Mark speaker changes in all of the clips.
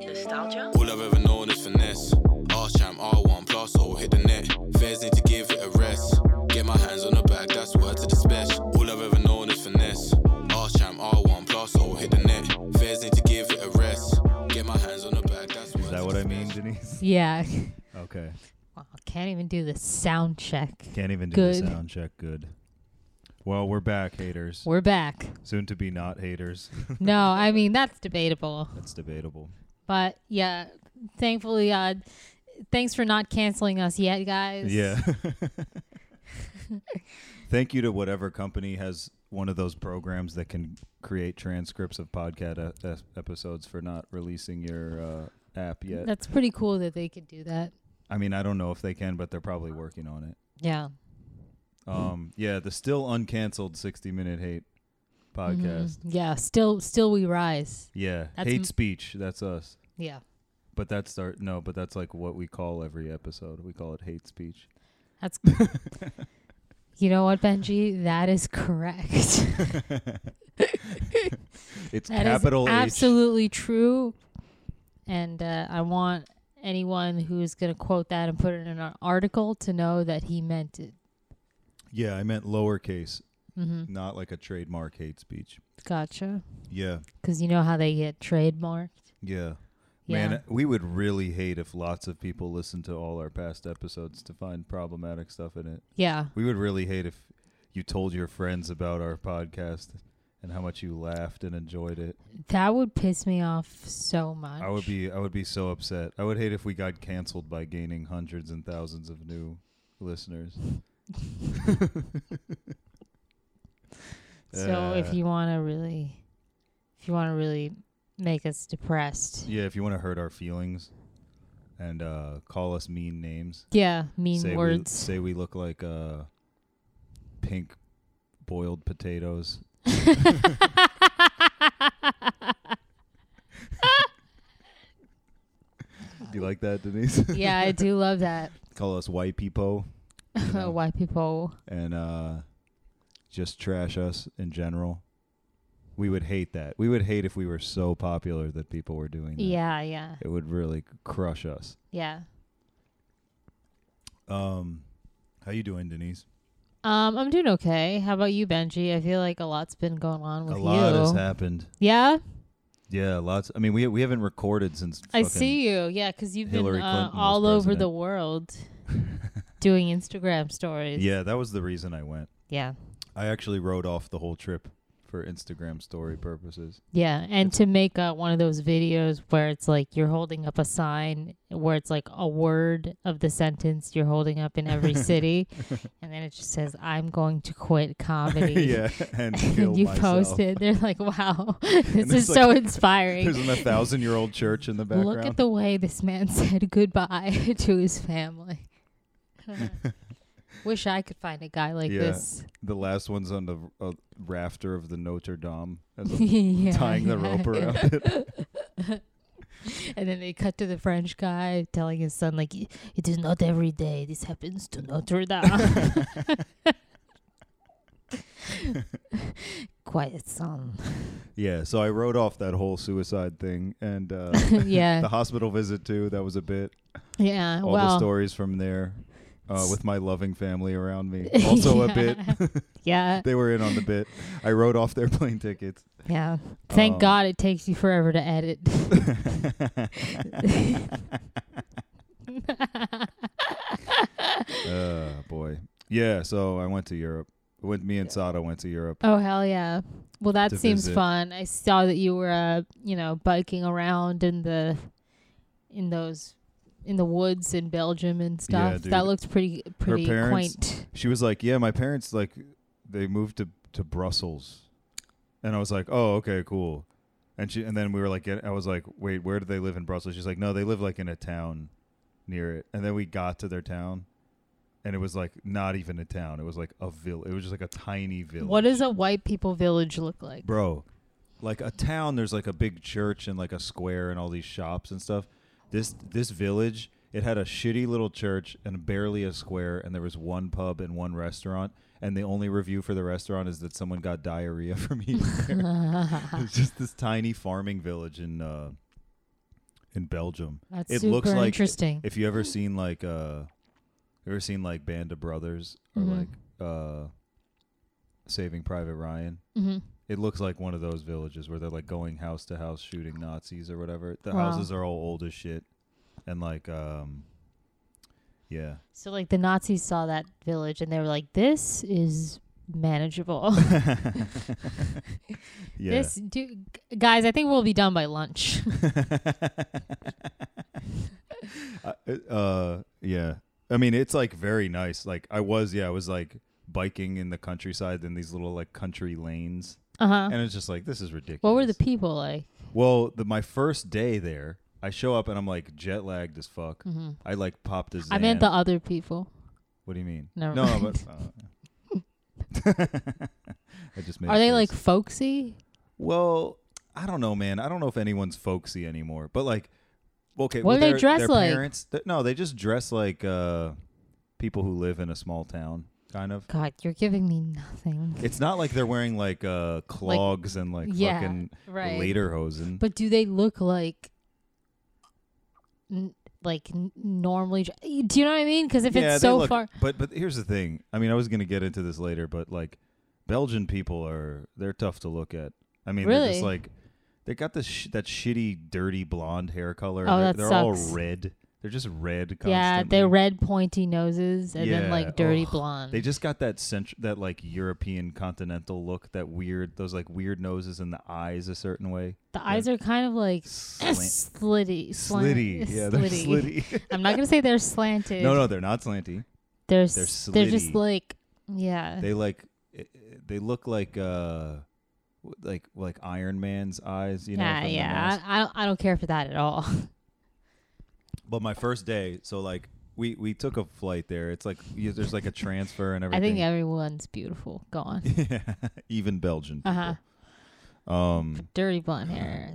Speaker 1: nostalgia.
Speaker 2: All I've ever known is finesse. R champ, R1 plus, or hit the net. Fairs need to give it a rest. Get my hands on the bag, that's word to the special. All I've ever known is finesse. R champ, R1 plus, or hit the net. Fairs need to give it a rest. Get my hands on the bag, that's word
Speaker 3: Is that
Speaker 2: to
Speaker 3: what
Speaker 2: the
Speaker 3: I mean,
Speaker 2: special.
Speaker 3: Denise?
Speaker 4: Yeah.
Speaker 3: Okay.
Speaker 4: Wow, can't even do the sound check.
Speaker 3: Can't even do
Speaker 4: Good.
Speaker 3: the sound check. Good. Well, we're back, haters.
Speaker 4: We're back.
Speaker 3: Soon to be not haters.
Speaker 4: No, I mean that's debatable.
Speaker 3: That's debatable.
Speaker 4: But yeah, thankfully, uh, thanks for not canceling us yet, guys.
Speaker 3: Yeah. Thank you to whatever company has one of those programs that can create transcripts of podcast e- es- episodes for not releasing your uh, app yet.
Speaker 4: That's pretty cool that they could do that.
Speaker 3: I mean, I don't know if they can, but they're probably working on it.
Speaker 4: Yeah. Mm-hmm.
Speaker 3: Um, yeah, the still uncanceled 60 minute hate podcast.
Speaker 4: Mhm. Yeah. Still, still we rise.
Speaker 3: Yeah,
Speaker 4: That's
Speaker 3: hate
Speaker 4: m-
Speaker 3: speech. That's us.
Speaker 4: Yeah.
Speaker 3: But that's our no. But that's like what we call every episode. We call it hate speech.
Speaker 4: That's. you know what, Benji? That is correct.
Speaker 3: It's
Speaker 4: That is
Speaker 3: capital H.
Speaker 4: absolutely true. And uh, I want anyone who is going to quote that and put it in an article to know that he meant it.
Speaker 3: Yeah, I meant lowercase,
Speaker 4: hmm
Speaker 3: not like a trademark hate speech.
Speaker 4: Gotcha.
Speaker 3: Yeah,
Speaker 4: Because you know how they get trademarked.
Speaker 3: yeah.
Speaker 4: Yeah.
Speaker 3: Man, we would really hate if lots of people listened to all our past episodes to find problematic stuff in it.
Speaker 4: yeah.
Speaker 3: We would really hate if you told your friends about our podcast and how much you laughed and enjoyed it.
Speaker 4: That would piss me off so much.
Speaker 3: I would be I would be so upset. I would hate if we got canceled by gaining hundreds and thousands of new listeners.
Speaker 4: So if
Speaker 3: Uh,
Speaker 4: you want to really, if you want to really make us depressed,
Speaker 3: Yeah, if you want to hurt our feelings and uh, call us mean names,
Speaker 4: yeah, mean
Speaker 3: say we,
Speaker 4: words.
Speaker 3: say we look like uh, pink boiled potatoes. Do
Speaker 4: Oh.
Speaker 3: you like that, Denise?
Speaker 4: yeah, I do love that.
Speaker 3: call us white people know.
Speaker 4: White people.
Speaker 3: and uh, just trash us in general. We would hate that. We would hate if we were so popular that people were doing that.
Speaker 4: Yeah, yeah,
Speaker 3: It would really crush us.
Speaker 4: yeah.
Speaker 3: Um, how you doing, Denise?
Speaker 4: Um, I'm doing okay. How about you, Benji? I feel like a lot's been going on with
Speaker 3: a lot
Speaker 4: you.
Speaker 3: has happened.
Speaker 4: yeah,
Speaker 3: Yeah, lots. I mean, we we haven't recorded since.
Speaker 4: I
Speaker 3: fucking-
Speaker 4: see you. Yeah, because you've
Speaker 3: Hillary
Speaker 4: been uh,
Speaker 3: Clinton was
Speaker 4: all over
Speaker 3: president.
Speaker 4: the world doing Instagram stories.
Speaker 3: Yeah, that was the reason I went.
Speaker 4: yeah,
Speaker 3: I actually wrote off the whole trip for Instagram story purposes.
Speaker 4: yeah. And to make uh, one of those videos where it's like you're holding up a sign where it's like a word of the sentence you're holding up in every city, and then it just says, "I'm going to quit comedy."
Speaker 3: yeah, and
Speaker 4: And
Speaker 3: killed
Speaker 4: you
Speaker 3: myself.
Speaker 4: post it. They're like, "Wow, this
Speaker 3: it's
Speaker 4: is so
Speaker 3: like-
Speaker 4: inspiring."
Speaker 3: There's a thousand-year-old church in the background.
Speaker 4: Look at the way this man said goodbye to his family. Wish I could find a guy like
Speaker 3: Yeah.
Speaker 4: this.
Speaker 3: The last one's on the uh, rafter of the Notre Dame, as a,
Speaker 4: Yeah,
Speaker 3: tying the
Speaker 4: yeah,
Speaker 3: rope
Speaker 4: yeah.
Speaker 3: around it.
Speaker 4: And then they cut to the French guy telling his son, like, "I- it is not every day this happens to Notre Dame. Quiet son.
Speaker 3: Yeah, so I wrote off that whole suicide thing and uh,
Speaker 4: yeah.
Speaker 3: the hospital visit too. That was a bit.
Speaker 4: yeah.
Speaker 3: All
Speaker 4: well,
Speaker 3: the stories from there, uh, with my loving family around me. Also a bit.
Speaker 4: yeah.
Speaker 3: they were in on the bit. I wrote off their plane tickets.
Speaker 4: Yeah. Thank
Speaker 3: Um,
Speaker 4: God it takes you forever to edit.
Speaker 3: Uh, boy. Yeah, so I went to Europe. Went me and Sada went to Europe.
Speaker 4: Oh hell yeah! Well, that
Speaker 3: to
Speaker 4: seems
Speaker 3: visit.
Speaker 4: fun. I saw that you were, uh, you know, biking around in the, in those, in the woods in Belgium and
Speaker 3: Yeah,
Speaker 4: stuff.
Speaker 3: dude.
Speaker 4: that looked pretty, pretty
Speaker 3: parents-
Speaker 4: quaint.
Speaker 3: She was like, "Yeah, my parents like they moved to to Brussels." And I was like, "Oh, okay, cool." And she and then we were like, get- I was like, "Wait, where do they live in Brussels?" She's like, "No, they live like in a town near it." And then we got to their town and it was like not even a town. It was like a village. It was just like a tiny village.
Speaker 4: What does a white people village look like?
Speaker 3: bro like a town there's like a big church and like a square and all these shops and stuff this this village it had a shitty little church and barely a square and there was one pub and one restaurant and the only review for the restaurant is that someone got diarrhea from eating there it's just this tiny farming village in uh in Belgium.
Speaker 4: That's
Speaker 3: it
Speaker 4: super
Speaker 3: looks like
Speaker 4: interesting.
Speaker 3: If you ever seen like uh, you ever seen like Band of Brothers or
Speaker 4: Mhm.
Speaker 3: like uh, Saving Private Ryan?
Speaker 4: hmm
Speaker 3: It looks like one of those villages where they're like going house to house shooting Nazis or whatever. The
Speaker 4: Wow.
Speaker 3: houses are all old as shit, and like um, yeah,
Speaker 4: So like the Nazis saw that village and they were like, "This is manageable."
Speaker 3: yeah.
Speaker 4: This do, g- guys, I think we'll be done by lunch.
Speaker 3: Uh, uh, yeah. I mean, it's like very nice. Like I was, yeah, I was like biking in the countryside in these little like country lanes,
Speaker 4: Uh huh.
Speaker 3: and it's just like this is ridiculous.
Speaker 4: What were the people like?
Speaker 3: well? The, my first day there, I show up and I'm like jet lagged as fuck.
Speaker 4: hmm
Speaker 3: I like popped a. Xan.
Speaker 4: I meant the other people.
Speaker 3: What do you mean?
Speaker 4: Never
Speaker 3: no,
Speaker 4: mind.
Speaker 3: but. uh, I just made a
Speaker 4: Are they
Speaker 3: face.
Speaker 4: like folksy?
Speaker 3: Well, I don't know, man. I don't know if anyone's folksy anymore. But like, okay,
Speaker 4: What
Speaker 3: well,
Speaker 4: do they
Speaker 3: their-
Speaker 4: dress
Speaker 3: their
Speaker 4: like?
Speaker 3: Parents, th- no, they just dress like uh, people who live in a small town, kind of.
Speaker 4: God, you're giving me nothing.
Speaker 3: It's not like they're wearing like uh, clogs and like
Speaker 4: yeah,
Speaker 3: fucking
Speaker 4: right.
Speaker 3: lederhosen.
Speaker 4: But do they look like, n- like n- normally? dr- Do you know what I mean? Because if
Speaker 3: yeah, they
Speaker 4: it's so
Speaker 3: look-
Speaker 4: far,
Speaker 3: But but here's the thing. I mean, I was gonna get into this later, but like, Belgian people are they're tough to look at. I mean, they're
Speaker 4: Really?
Speaker 3: just like they got this sh- that shitty, dirty blonde hair color.
Speaker 4: Oh,
Speaker 3: and they're
Speaker 4: that
Speaker 3: they're
Speaker 4: sucks.
Speaker 3: all red. They're just red. Constantly.
Speaker 4: yeah, they're red pointy noses and then
Speaker 3: Yeah,
Speaker 4: like dirty
Speaker 3: ugh.
Speaker 4: blonde.
Speaker 3: They just got that cent- that like European continental look, that weird, those like weird noses and the eyes a certain way.
Speaker 4: the eyes are kind of like
Speaker 3: Slant-
Speaker 4: slitty, slant-
Speaker 3: slitty. Yeah, they're slitty.
Speaker 4: I'm not gonna say they're slanted.
Speaker 3: no, no, they're not slanty.
Speaker 4: they're
Speaker 3: they're
Speaker 4: s- they're just
Speaker 3: slitty.
Speaker 4: like yeah.
Speaker 3: They like, eh, eh, they look like, uh, w- like like Iron Man's eyes, you know.
Speaker 4: yeah,
Speaker 3: from the
Speaker 4: yeah.
Speaker 3: mask.
Speaker 4: I, I don't, I don't care for that at all.
Speaker 3: But my first day, so like we we took a flight there. It's like you, there's like a transfer and
Speaker 4: I
Speaker 3: everything.
Speaker 4: think everyone's beautiful. Go on.
Speaker 3: yeah, even Belgian.
Speaker 4: Uh huh.
Speaker 3: people. Um,
Speaker 4: Dirty blonde hair.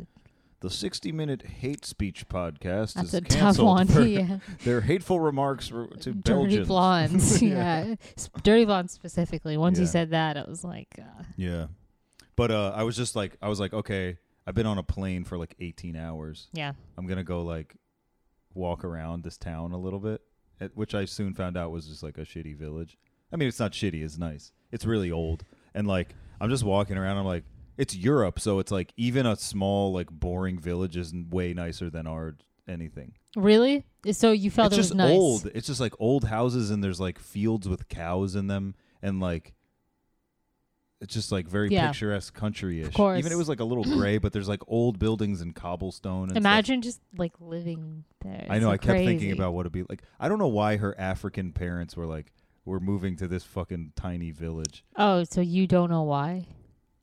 Speaker 3: The 60 minute hate speech podcast
Speaker 4: That's
Speaker 3: is
Speaker 4: a tough
Speaker 3: canceled
Speaker 4: one.
Speaker 3: for
Speaker 4: yeah.
Speaker 3: their hateful remarks r- to
Speaker 4: Dirty
Speaker 3: Belgians.
Speaker 4: blondes. yeah. S- Dirty blondes specifically. Once you
Speaker 3: Yeah.
Speaker 4: said that, I was like, uh,
Speaker 3: Yeah. But uh, I was just like, I was like, okay, I've been on a plane for like 18 hours.
Speaker 4: yeah.
Speaker 3: I'm going to go like walk around this town a little bit, at, which I soon found out was just like a shitty village. I mean, it's not shitty, it's nice. It's really old. And like, I'm just walking around. I'm like, it's Europe. So it's like, even a small, like, boring village is n- way nicer than our anything.
Speaker 4: Really? So you felt
Speaker 3: it's
Speaker 4: it
Speaker 3: just
Speaker 4: was nice.
Speaker 3: old. It's just like old houses, and there's like fields with cows in them, and like it's just like very
Speaker 4: Yeah.
Speaker 3: picturesque country-ish.
Speaker 4: Of course.
Speaker 3: Even it was like a little gray, but there's like old buildings and cobblestone. And stuff.
Speaker 4: Imagine just like living there.
Speaker 3: I
Speaker 4: It's,
Speaker 3: know. I
Speaker 4: like,
Speaker 3: kept thinking
Speaker 4: crazy.
Speaker 3: about what it'd be like. I don't know why her African parents were like, "We're moving to this fucking tiny village."
Speaker 4: Oh, so you don't know why?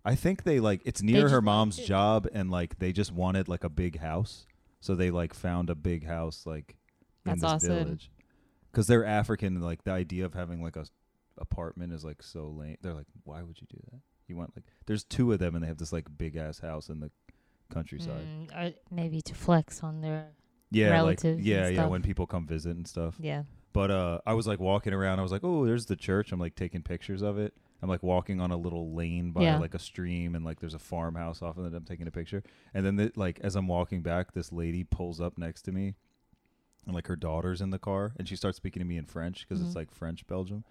Speaker 3: I think they like it's near
Speaker 4: just
Speaker 3: her
Speaker 4: wanted
Speaker 3: mom's
Speaker 4: to-
Speaker 3: job, and like they just wanted like a big house, so they like found a big house like in
Speaker 4: That's
Speaker 3: this
Speaker 4: awesome.
Speaker 3: village. Because they're African, like the idea of having like a s- apartment is like so lame. They're like, why would you do that? You want like there's two of them, and they have this like big ass house in the countryside.
Speaker 4: Mm, or maybe to flex on their
Speaker 3: Yeah,
Speaker 4: Relatives
Speaker 3: like
Speaker 4: and
Speaker 3: yeah, yeah.
Speaker 4: stuff.
Speaker 3: When people come visit and stuff.
Speaker 4: yeah.
Speaker 3: But uh, I was like walking around. I was like, oh, there's the church. I'm like taking pictures of it. I'm like walking on a little lane by
Speaker 4: Yeah.
Speaker 3: like a stream, and like there's a farmhouse off, and then I'm taking a picture. And then the, like as I'm walking back, this lady pulls up next to me, and like her daughter's in the car, and she starts speaking to me in French because
Speaker 4: Mhm.
Speaker 3: it's like French Belgium,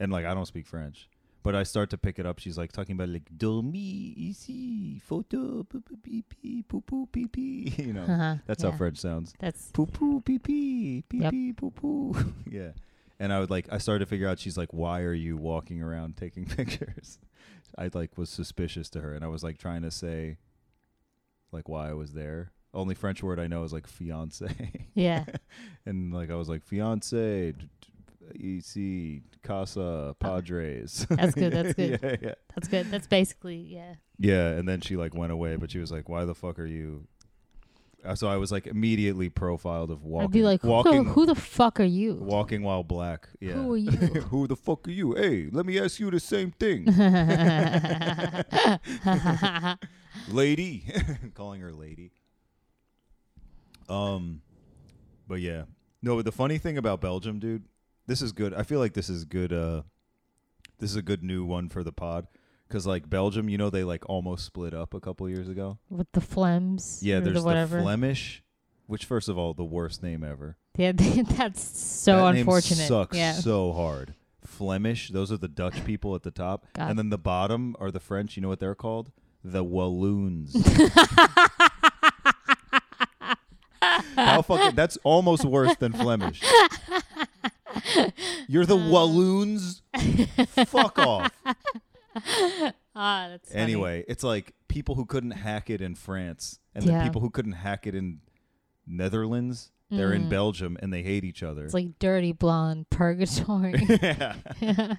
Speaker 3: and like I don't speak French. But I start to pick it up. She's like talking about like dormi ici, photo, poo poo pee pee, poo poo pee pee. You know,
Speaker 4: Uh-huh.
Speaker 3: that's
Speaker 4: yeah.
Speaker 3: how French sounds
Speaker 4: That's
Speaker 3: poo poo pee pee pee
Speaker 4: Yep.
Speaker 3: pee poo poo. yeah. And I would like I started to figure out she's like, why are you walking around taking pictures? I like was suspicious to her and I was like trying to say like why I was there. Only French word I know is like fiance.
Speaker 4: yeah.
Speaker 3: and like I was like fiance d- d- EC Casa Padres.
Speaker 4: That's good, that's good.
Speaker 3: yeah, yeah.
Speaker 4: That's good. That's basically yeah.
Speaker 3: Yeah, and then she like went away, but she was like, "Why the fuck are you?" Uh, So I was like immediately profiled of walking.
Speaker 4: I'd be like, who the,
Speaker 3: walking,
Speaker 4: who the fuck are you?
Speaker 3: walking while black. Yeah.
Speaker 4: Who are you?
Speaker 3: Who the fuck are you? Hey, let me ask you the same thing, lady. Calling her lady. Um, but yeah, no. But the funny thing about Belgium, dude, this is good. I feel like this is good. Uh, this is a good new one for the pod. Cause like Belgium, you know they like almost split up a couple years ago.
Speaker 4: With the phlegms.
Speaker 3: Yeah,
Speaker 4: or
Speaker 3: there's
Speaker 4: the
Speaker 3: the
Speaker 4: whatever.
Speaker 3: Flemish Which, first of all, the worst name ever.
Speaker 4: Yeah, that's so
Speaker 3: that
Speaker 4: unfortunate.
Speaker 3: Name sucks
Speaker 4: yeah.
Speaker 3: so hard. Flemish. Those are the Dutch people at the top,
Speaker 4: God.
Speaker 3: and then the bottom are the French. You know what they're called? The Walloons. How fucking? That's almost worse than Flemish. You're
Speaker 4: Uh.
Speaker 3: the Walloons. Fuck off.
Speaker 4: ah, that's funny.
Speaker 3: Anyway, it's like people who couldn't hack it in France, and then
Speaker 4: Yeah.
Speaker 3: people who couldn't hack it in Netherlands. They're in Belgium, and they hate each other.
Speaker 4: Mm. It's like dirty blonde purgatory.
Speaker 3: Yeah.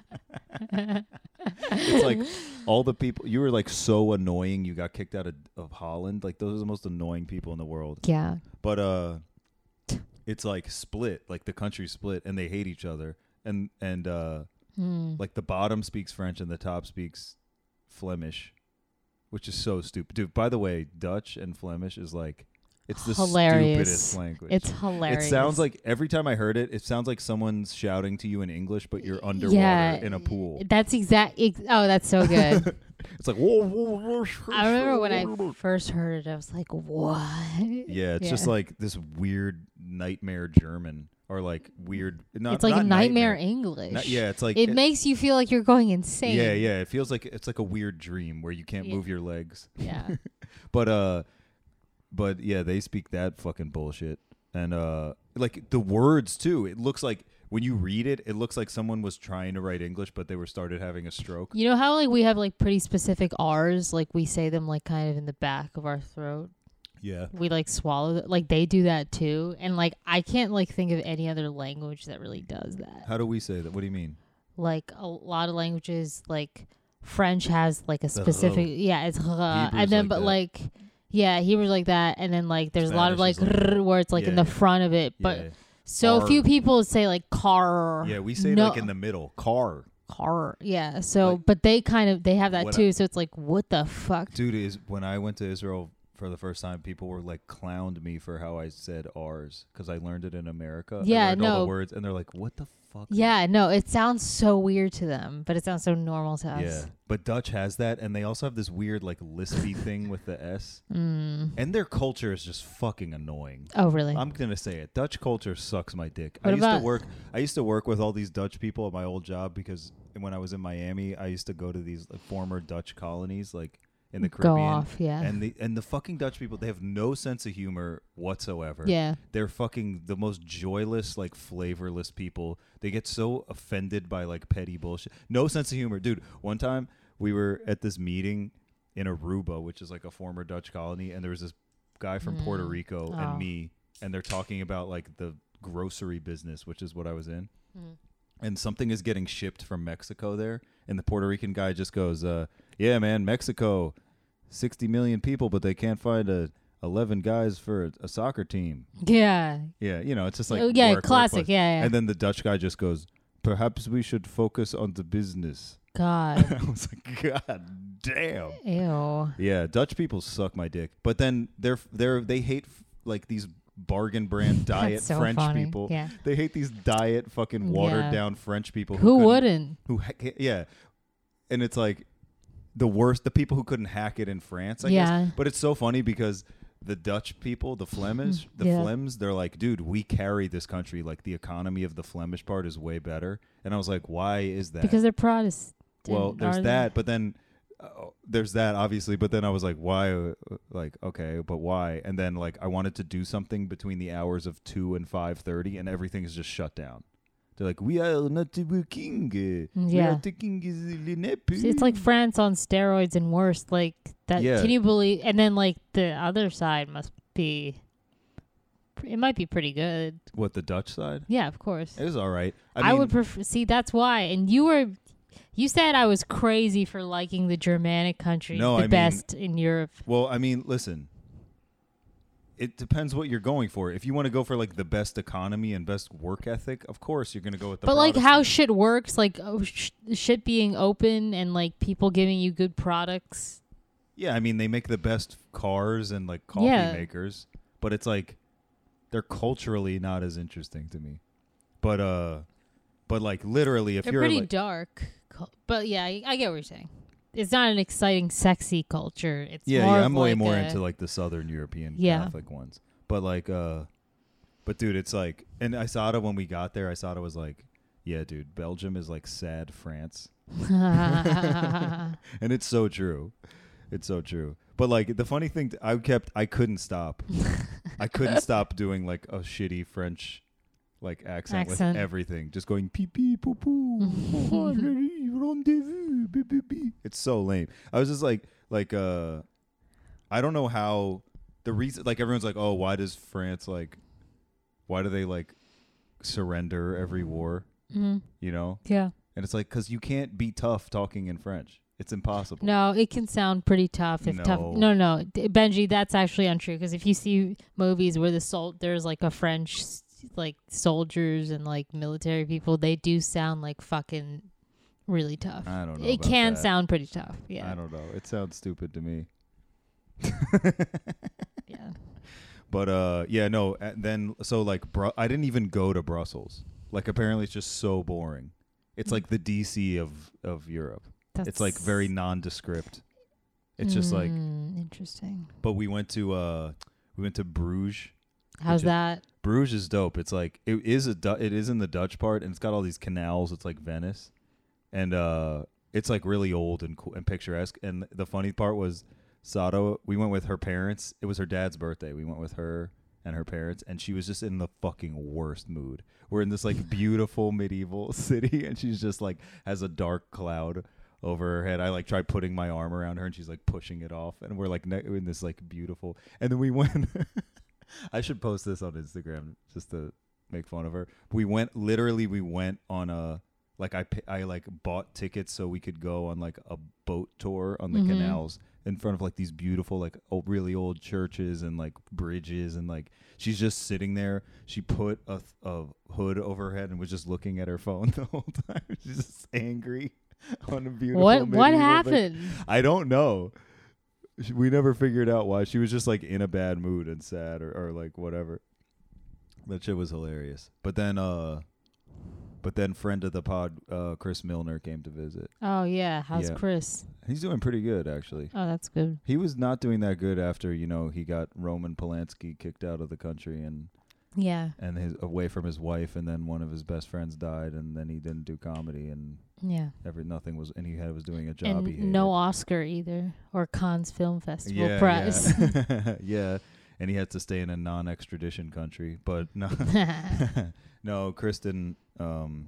Speaker 3: it's like all the people you were like so annoying you got kicked out of, of Holland. Like those are the most annoying people in the world.
Speaker 4: yeah.
Speaker 3: But uh it's like split, like the country split and they hate each other. And and uh
Speaker 4: Hmm.
Speaker 3: like the bottom speaks French and the top speaks Flemish, which is so stupid. Dude, by the way, Dutch and Flemish is like it's the
Speaker 4: Hilarious.
Speaker 3: stupidest language.
Speaker 4: It's hilarious.
Speaker 3: It sounds like every time I heard it, it sounds like someone's shouting to you in English, but you're underwater
Speaker 4: Yeah.
Speaker 3: in a pool.
Speaker 4: That's exact. Ex- oh, that's so good.
Speaker 3: It's like whoa, whoa, whoa, sh-
Speaker 4: I remember when
Speaker 3: sh-
Speaker 4: I first heard it, I was like, "What?"
Speaker 3: Yeah, it's just like this weird nightmare German or like weird. Not,
Speaker 4: it's like
Speaker 3: not
Speaker 4: nightmare, English.
Speaker 3: Not- yeah, it's like
Speaker 4: it, makes you feel like you're going insane.
Speaker 3: Yeah, yeah. It feels like it's like a weird dream where you can't
Speaker 4: Yeah.
Speaker 3: move your legs.
Speaker 4: yeah.
Speaker 3: But uh, but yeah, they speak that fucking bullshit and uh, like the words too. It looks like. When you read it, it looks like someone was trying to write English, but they were started having a stroke.
Speaker 4: You know how like we have like pretty specific R's, like we say them like kind of in the back of our throat.
Speaker 3: Yeah.
Speaker 4: We like swallow th- like they do that too, and like I can't like think of any other language that really does that.
Speaker 3: How do we say that? What do you mean?
Speaker 4: Like a lot of languages, like French has like a specific yeah, it's
Speaker 3: Hebrew's
Speaker 4: and
Speaker 3: like
Speaker 4: then but
Speaker 3: that.
Speaker 4: like yeah, Hebrews like that, and then like there's a lot of like
Speaker 3: Spanish is like that.
Speaker 4: where it's like in
Speaker 3: Yeah,
Speaker 4: the
Speaker 3: yeah.
Speaker 4: front of it, but
Speaker 3: yeah.
Speaker 4: so
Speaker 3: Car.
Speaker 4: few people say like car.
Speaker 3: yeah, we say it
Speaker 4: No-
Speaker 3: like in the middle. Car.
Speaker 4: car. Yeah. So,
Speaker 3: Like-
Speaker 4: but they kind of they have that
Speaker 3: What I-
Speaker 4: too. so it's like, what the fuck?
Speaker 3: Dude, is when I went to Israel for the first time, people were like clowned me for how I said ours because I learned it in America. I
Speaker 4: Yeah,
Speaker 3: learned all
Speaker 4: no.
Speaker 3: the words, and they're like, "What the fuck?"
Speaker 4: Yeah, no, it sounds so weird to them, but it sounds so normal to us.
Speaker 3: yeah. But Dutch has that, and they also have this weird like lispy thing with the s.
Speaker 4: Mm.
Speaker 3: And their culture is just fucking annoying.
Speaker 4: Oh, really?
Speaker 3: I'm gonna say it. Dutch culture sucks my dick. I
Speaker 4: What
Speaker 3: used
Speaker 4: about-
Speaker 3: to work. I used to work with all these Dutch people at my old job because when I was in Miami, I used to go to these like, former Dutch colonies, like in the
Speaker 4: Go
Speaker 3: Caribbean.
Speaker 4: off, yeah.
Speaker 3: And the and the fucking Dutch people, they have no sense of humor whatsoever.
Speaker 4: Yeah.
Speaker 3: They're fucking the most joyless, like flavorless people. They get so offended by like petty bullshit. No sense of humor, dude. One time we were at this meeting in Aruba, which is like a former Dutch colony, and there was this guy from Puerto Rico
Speaker 4: Oh.
Speaker 3: and me, and they're talking about like the grocery business, which is what I was in. And something is getting shipped from Mexico there, and the Puerto Rican guy just goes, uh, "Yeah, man, Mexico, sixty million people, but they can't find a eleven guys for a, a soccer team."
Speaker 4: yeah.
Speaker 3: Yeah, you know, it's just like
Speaker 4: Oh, yeah,
Speaker 3: work, work,
Speaker 4: classic,
Speaker 3: work.
Speaker 4: yeah, yeah.
Speaker 3: And then the Dutch guy just goes, "Perhaps we should focus on the business."
Speaker 4: God.
Speaker 3: I was like, "God damn."
Speaker 4: Ew.
Speaker 3: Yeah, Dutch people suck my dick. But then they're they're they hate like these bargain brand diet
Speaker 4: so
Speaker 3: French
Speaker 4: funny,
Speaker 3: people.
Speaker 4: yeah.
Speaker 3: They hate these diet fucking watered
Speaker 4: Yeah.
Speaker 3: down French people.
Speaker 4: Who
Speaker 3: couldn't-
Speaker 4: wouldn't?
Speaker 3: Who ha- yeah, and it's like the worst. The people who couldn't hack it in France. I
Speaker 4: Yeah.
Speaker 3: guess. But it's so funny because. The Dutch people, the Flemish, the
Speaker 4: Yeah.
Speaker 3: Flems, they're like, dude, we carry this country. Like the economy of the Flemish part is way better. And I was like, why is that?
Speaker 4: Because they're Protestant.
Speaker 3: well there's
Speaker 4: are they?
Speaker 3: that but then uh, there's that obviously but then i was like why uh, like okay but why and then like i wanted to do something between the hours of 2 and 5.30 and everything is just shut down they're like we are not working uh, we
Speaker 4: Yeah.
Speaker 3: are taking is le
Speaker 4: See, It's like France on steroids and worse. Like that.
Speaker 3: Yeah.
Speaker 4: Can you believe? And then like the other side must be. It might be pretty good.
Speaker 3: what the dutch side
Speaker 4: Yeah, of course.
Speaker 3: it was all right i,
Speaker 4: I,
Speaker 3: mean,
Speaker 4: would prefer. See, that's why. And you were, you said I was crazy for liking the Germanic countries,
Speaker 3: No,
Speaker 4: the
Speaker 3: I mean-
Speaker 4: best in Europe.
Speaker 3: well i mean listen it depends what you're going for. If you want to go for like the best economy and best work ethic, of course you're going to go with the.
Speaker 4: But like how
Speaker 3: Protestant.
Speaker 4: shit works, like oh, sh- shit being open and like people giving you good products.
Speaker 3: Yeah, I mean they make the best cars and like coffee
Speaker 4: Yeah.
Speaker 3: makers, but it's like they're culturally not as interesting to me. But uh but like literally if
Speaker 4: They're
Speaker 3: you're
Speaker 4: pretty
Speaker 3: like,
Speaker 4: dark, cul- but yeah, I, I get what you're saying. It's not an exciting, sexy culture. It's
Speaker 3: Yeah,
Speaker 4: more
Speaker 3: yeah,
Speaker 4: of
Speaker 3: I'm way
Speaker 4: like
Speaker 3: more
Speaker 4: a-
Speaker 3: into like the southern European
Speaker 4: Yeah.
Speaker 3: Catholic ones. But like, uh, but dude, it's like, and Isada when we got there, Isada was like, yeah, dude, Belgium is like sad France, and it's so true. It's so true. But like the funny thing, t- I kept, I couldn't stop. I couldn't stop doing like a shitty French, like accent,
Speaker 4: Accent.
Speaker 3: with everything, just going pee pee poo poo. oh, allez, rendezvous, beep, beep, beep. It's so lame. I was just like, like, uh, I don't know how the reason, like everyone's like, oh, why does France like, why do they like surrender every war?
Speaker 4: Mhm.
Speaker 3: You know,
Speaker 4: Yeah.
Speaker 3: and it's like because you can't be tough talking in French. It's impossible.
Speaker 4: No, it can sound pretty tough. If tough,
Speaker 3: No.
Speaker 4: no, no, D- Benji, that's actually untrue. Because if you see movies where the sol- there's like a French, s- like soldiers and like military people, they do sound like fucking really tough.
Speaker 3: I don't know
Speaker 4: It
Speaker 3: about
Speaker 4: can
Speaker 3: that.
Speaker 4: sound pretty tough. Yeah.
Speaker 3: I don't know. It sounds stupid to me.
Speaker 4: yeah.
Speaker 3: But uh, yeah, no. a- Then so like, Bru- I didn't even go to Brussels. Like, apparently, it's just so boring. It's like the DC of of Europe.
Speaker 4: That's
Speaker 3: It's like very nondescript. It's just like.
Speaker 4: Mm, interesting.
Speaker 3: But we went to uh, we went to Bruges.
Speaker 4: How's
Speaker 3: is-
Speaker 4: that?
Speaker 3: Bruges is dope. It's like it is a Du- it is in the Dutch part, and it's got all these canals. It's like Venice, and uh, it's like really old and cool and picturesque. And the funny part was, Sato. We went with her parents. It was her dad's birthday. We went with her and her parents, and she was just in the fucking worst mood. We're in this like beautiful medieval city, and she's just like has a dark cloud over her head. I like try putting my arm around her, and she's like pushing it off. And we're like ne- in this like beautiful, and then we went. I should post this on Instagram just to make fun of her. We went literally. We went on a like I pa- I like bought tickets so we could go on like a boat tour on the
Speaker 4: Mhm.
Speaker 3: canals in front of like these beautiful like old, really old churches and like bridges and like she's just sitting there. She put a, th- a hood over her head and was just looking at her phone the whole time. she's just angry on a beautiful.
Speaker 4: What what
Speaker 3: medieval thing.
Speaker 4: happened?
Speaker 3: I don't know. She- We never figured out why she was just like in a bad mood and sad or, or like whatever. That shit was hilarious. But then, uh, but then friend of the pod, uh, Chris Milner came to visit.
Speaker 4: Oh yeah, how's
Speaker 3: Yeah.
Speaker 4: Chris?
Speaker 3: He's doing pretty good actually.
Speaker 4: Oh, that's good.
Speaker 3: He was not doing that good after you know he got Roman Polanski kicked out of the country and
Speaker 4: Yeah,
Speaker 3: and his away from his wife and then one of his best friends died and then he didn't do comedy and
Speaker 4: yeah,
Speaker 3: every nothing was and he had was doing a job he
Speaker 4: and
Speaker 3: hated.
Speaker 4: no Oscar either or Cannes Film Festival
Speaker 3: yeah,
Speaker 4: prize.
Speaker 3: Yeah. yeah. And he had to stay in a non extradition country. But no No, Chris didn't um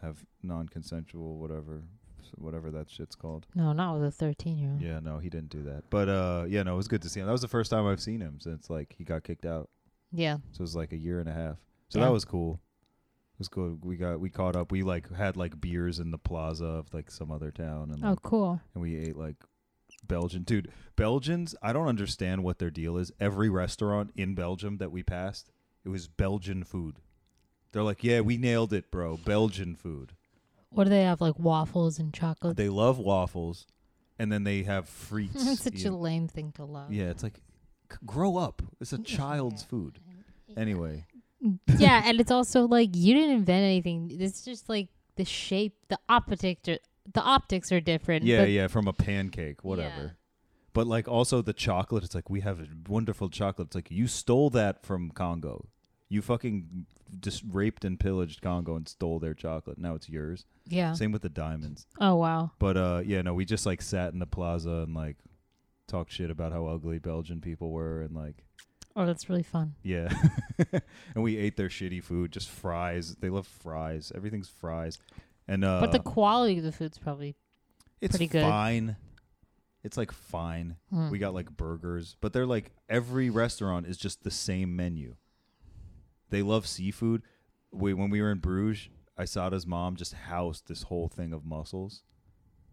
Speaker 3: have non consensual whatever whatever that shit's called.
Speaker 4: no, not with a thirteen-year-old.
Speaker 3: Yeah, no, he didn't do that. But uh yeah, no, it was good to see him. That was the first time I've seen him since like he got kicked out.
Speaker 4: Yeah.
Speaker 3: So it was like a year and a half. So
Speaker 4: Yeah.
Speaker 3: that was cool. It was cool. We got we caught up. We like had like beers in the plaza of like some other town and like,
Speaker 4: Oh, cool.
Speaker 3: and we ate like Belgian dude. Belgians, I don't understand what their deal is. Every restaurant in Belgium that we passed, it was Belgian food. They're like, yeah, we nailed it, bro. Belgian food.
Speaker 4: What do they have? Like waffles and chocolate.
Speaker 3: They love waffles, and then they have frites.
Speaker 4: That's such
Speaker 3: you-
Speaker 4: a lame thing to love.
Speaker 3: yeah, it's like, c- grow up. It's a child's food. Anyway,
Speaker 4: yeah, and it's also like you didn't invent anything. It's just like the shape, the optics, are, the optics are different.
Speaker 3: yeah,
Speaker 4: but
Speaker 3: yeah, from a pancake, whatever.
Speaker 4: Yeah.
Speaker 3: But like also the chocolate, it's like we have a wonderful chocolate. It's like you stole that from Congo. You fucking just raped and pillaged Congo and stole their chocolate. Now it's yours.
Speaker 4: yeah.
Speaker 3: Same with the diamonds.
Speaker 4: Oh wow.
Speaker 3: But uh yeah, no, we just like sat in the plaza and like talked shit about how ugly Belgian people were and like
Speaker 4: Oh, that's really fun.
Speaker 3: yeah. and we ate their shitty food, just fries. They love fries. Everything's fries. And uh
Speaker 4: but the quality of the food's probably
Speaker 3: it's
Speaker 4: pretty good.
Speaker 3: fine. It's like fine.
Speaker 4: hmm.
Speaker 3: We got like burgers, but they're like every restaurant is just the same menu. They love seafood. We, when we were in Bruges, Isada's mom just housed this whole thing of mussels.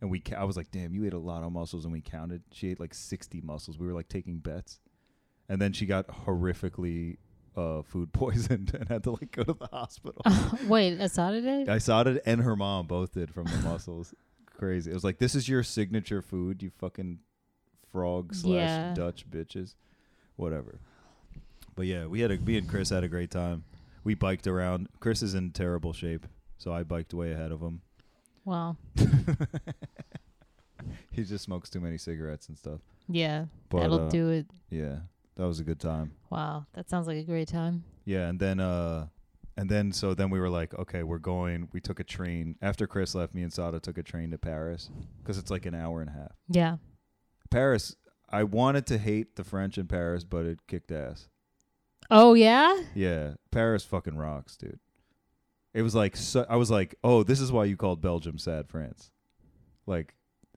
Speaker 3: And we, ca- I was like, damn, you ate a lot of mussels. And we counted. She ate like 60 mussels. We were like taking bets. And then she got horrifically uh, food poisoned and had to like go to the hospital.
Speaker 4: Wait, Asada did?
Speaker 3: Isada and her mom both did from the mussels. Crazy. It was like this is your signature food, you fucking frog slash
Speaker 4: Yeah.
Speaker 3: Dutch bitches, whatever. But yeah, we had a me and Chris had a great time. We biked around. Chris is in terrible shape, so I biked way ahead of him.
Speaker 4: Wow.
Speaker 3: he just smokes too many cigarettes and stuff.
Speaker 4: Yeah,
Speaker 3: But
Speaker 4: that'll
Speaker 3: uh,
Speaker 4: do it.
Speaker 3: yeah, That was a good time.
Speaker 4: Wow, that sounds like a great time.
Speaker 3: Yeah, and then uh and then so then we were like, okay, we're going. We took a train after Chris left. Me and Sada took a train to Paris because it's like an hour and a half.
Speaker 4: Yeah.
Speaker 3: Paris. I wanted to hate the French in Paris, but it kicked ass.
Speaker 4: Oh yeah.
Speaker 3: Yeah, Paris fucking rocks, dude. It was like so, I was like, oh, this is why you called Belgium sad France. Like,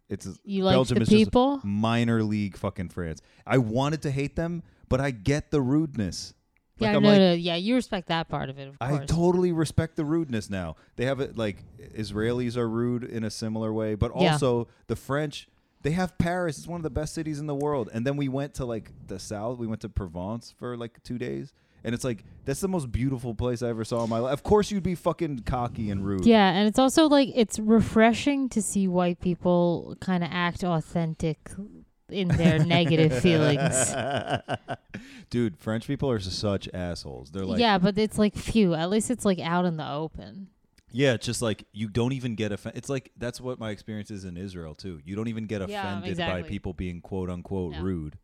Speaker 3: it's
Speaker 4: You like
Speaker 3: Belgium
Speaker 4: the
Speaker 3: is just-
Speaker 4: people?
Speaker 3: minor league fucking France. I wanted to hate them, but I get the rudeness.
Speaker 4: yeah,
Speaker 3: Like, I'm
Speaker 4: no,
Speaker 3: like,
Speaker 4: no, yeah. You respect that part of it, of
Speaker 3: I
Speaker 4: course.
Speaker 3: totally respect the rudeness now. They have it like Israelis are rude in a similar way, but
Speaker 4: Yeah.
Speaker 3: also the French. They have Paris. It's one of the best cities in the world. And then we went to like the south. We went to Provence for like two days, and it's like that's the most beautiful place I ever saw in my life. Of course, you'd be fucking cocky and rude.
Speaker 4: yeah, and it's also like it's refreshing to see white people kind of act authentic in their negative feelings.
Speaker 3: Dude, French people are such assholes. They're like,
Speaker 4: yeah, but it's like phew. At least it's like out in the open.
Speaker 3: Yeah, it's just like you don't even get offended. It's like that's what my experience is in Israel too. You don't even get
Speaker 4: Yeah,
Speaker 3: offended by
Speaker 4: exactly.
Speaker 3: people being quote unquote
Speaker 4: Yeah.
Speaker 3: rude.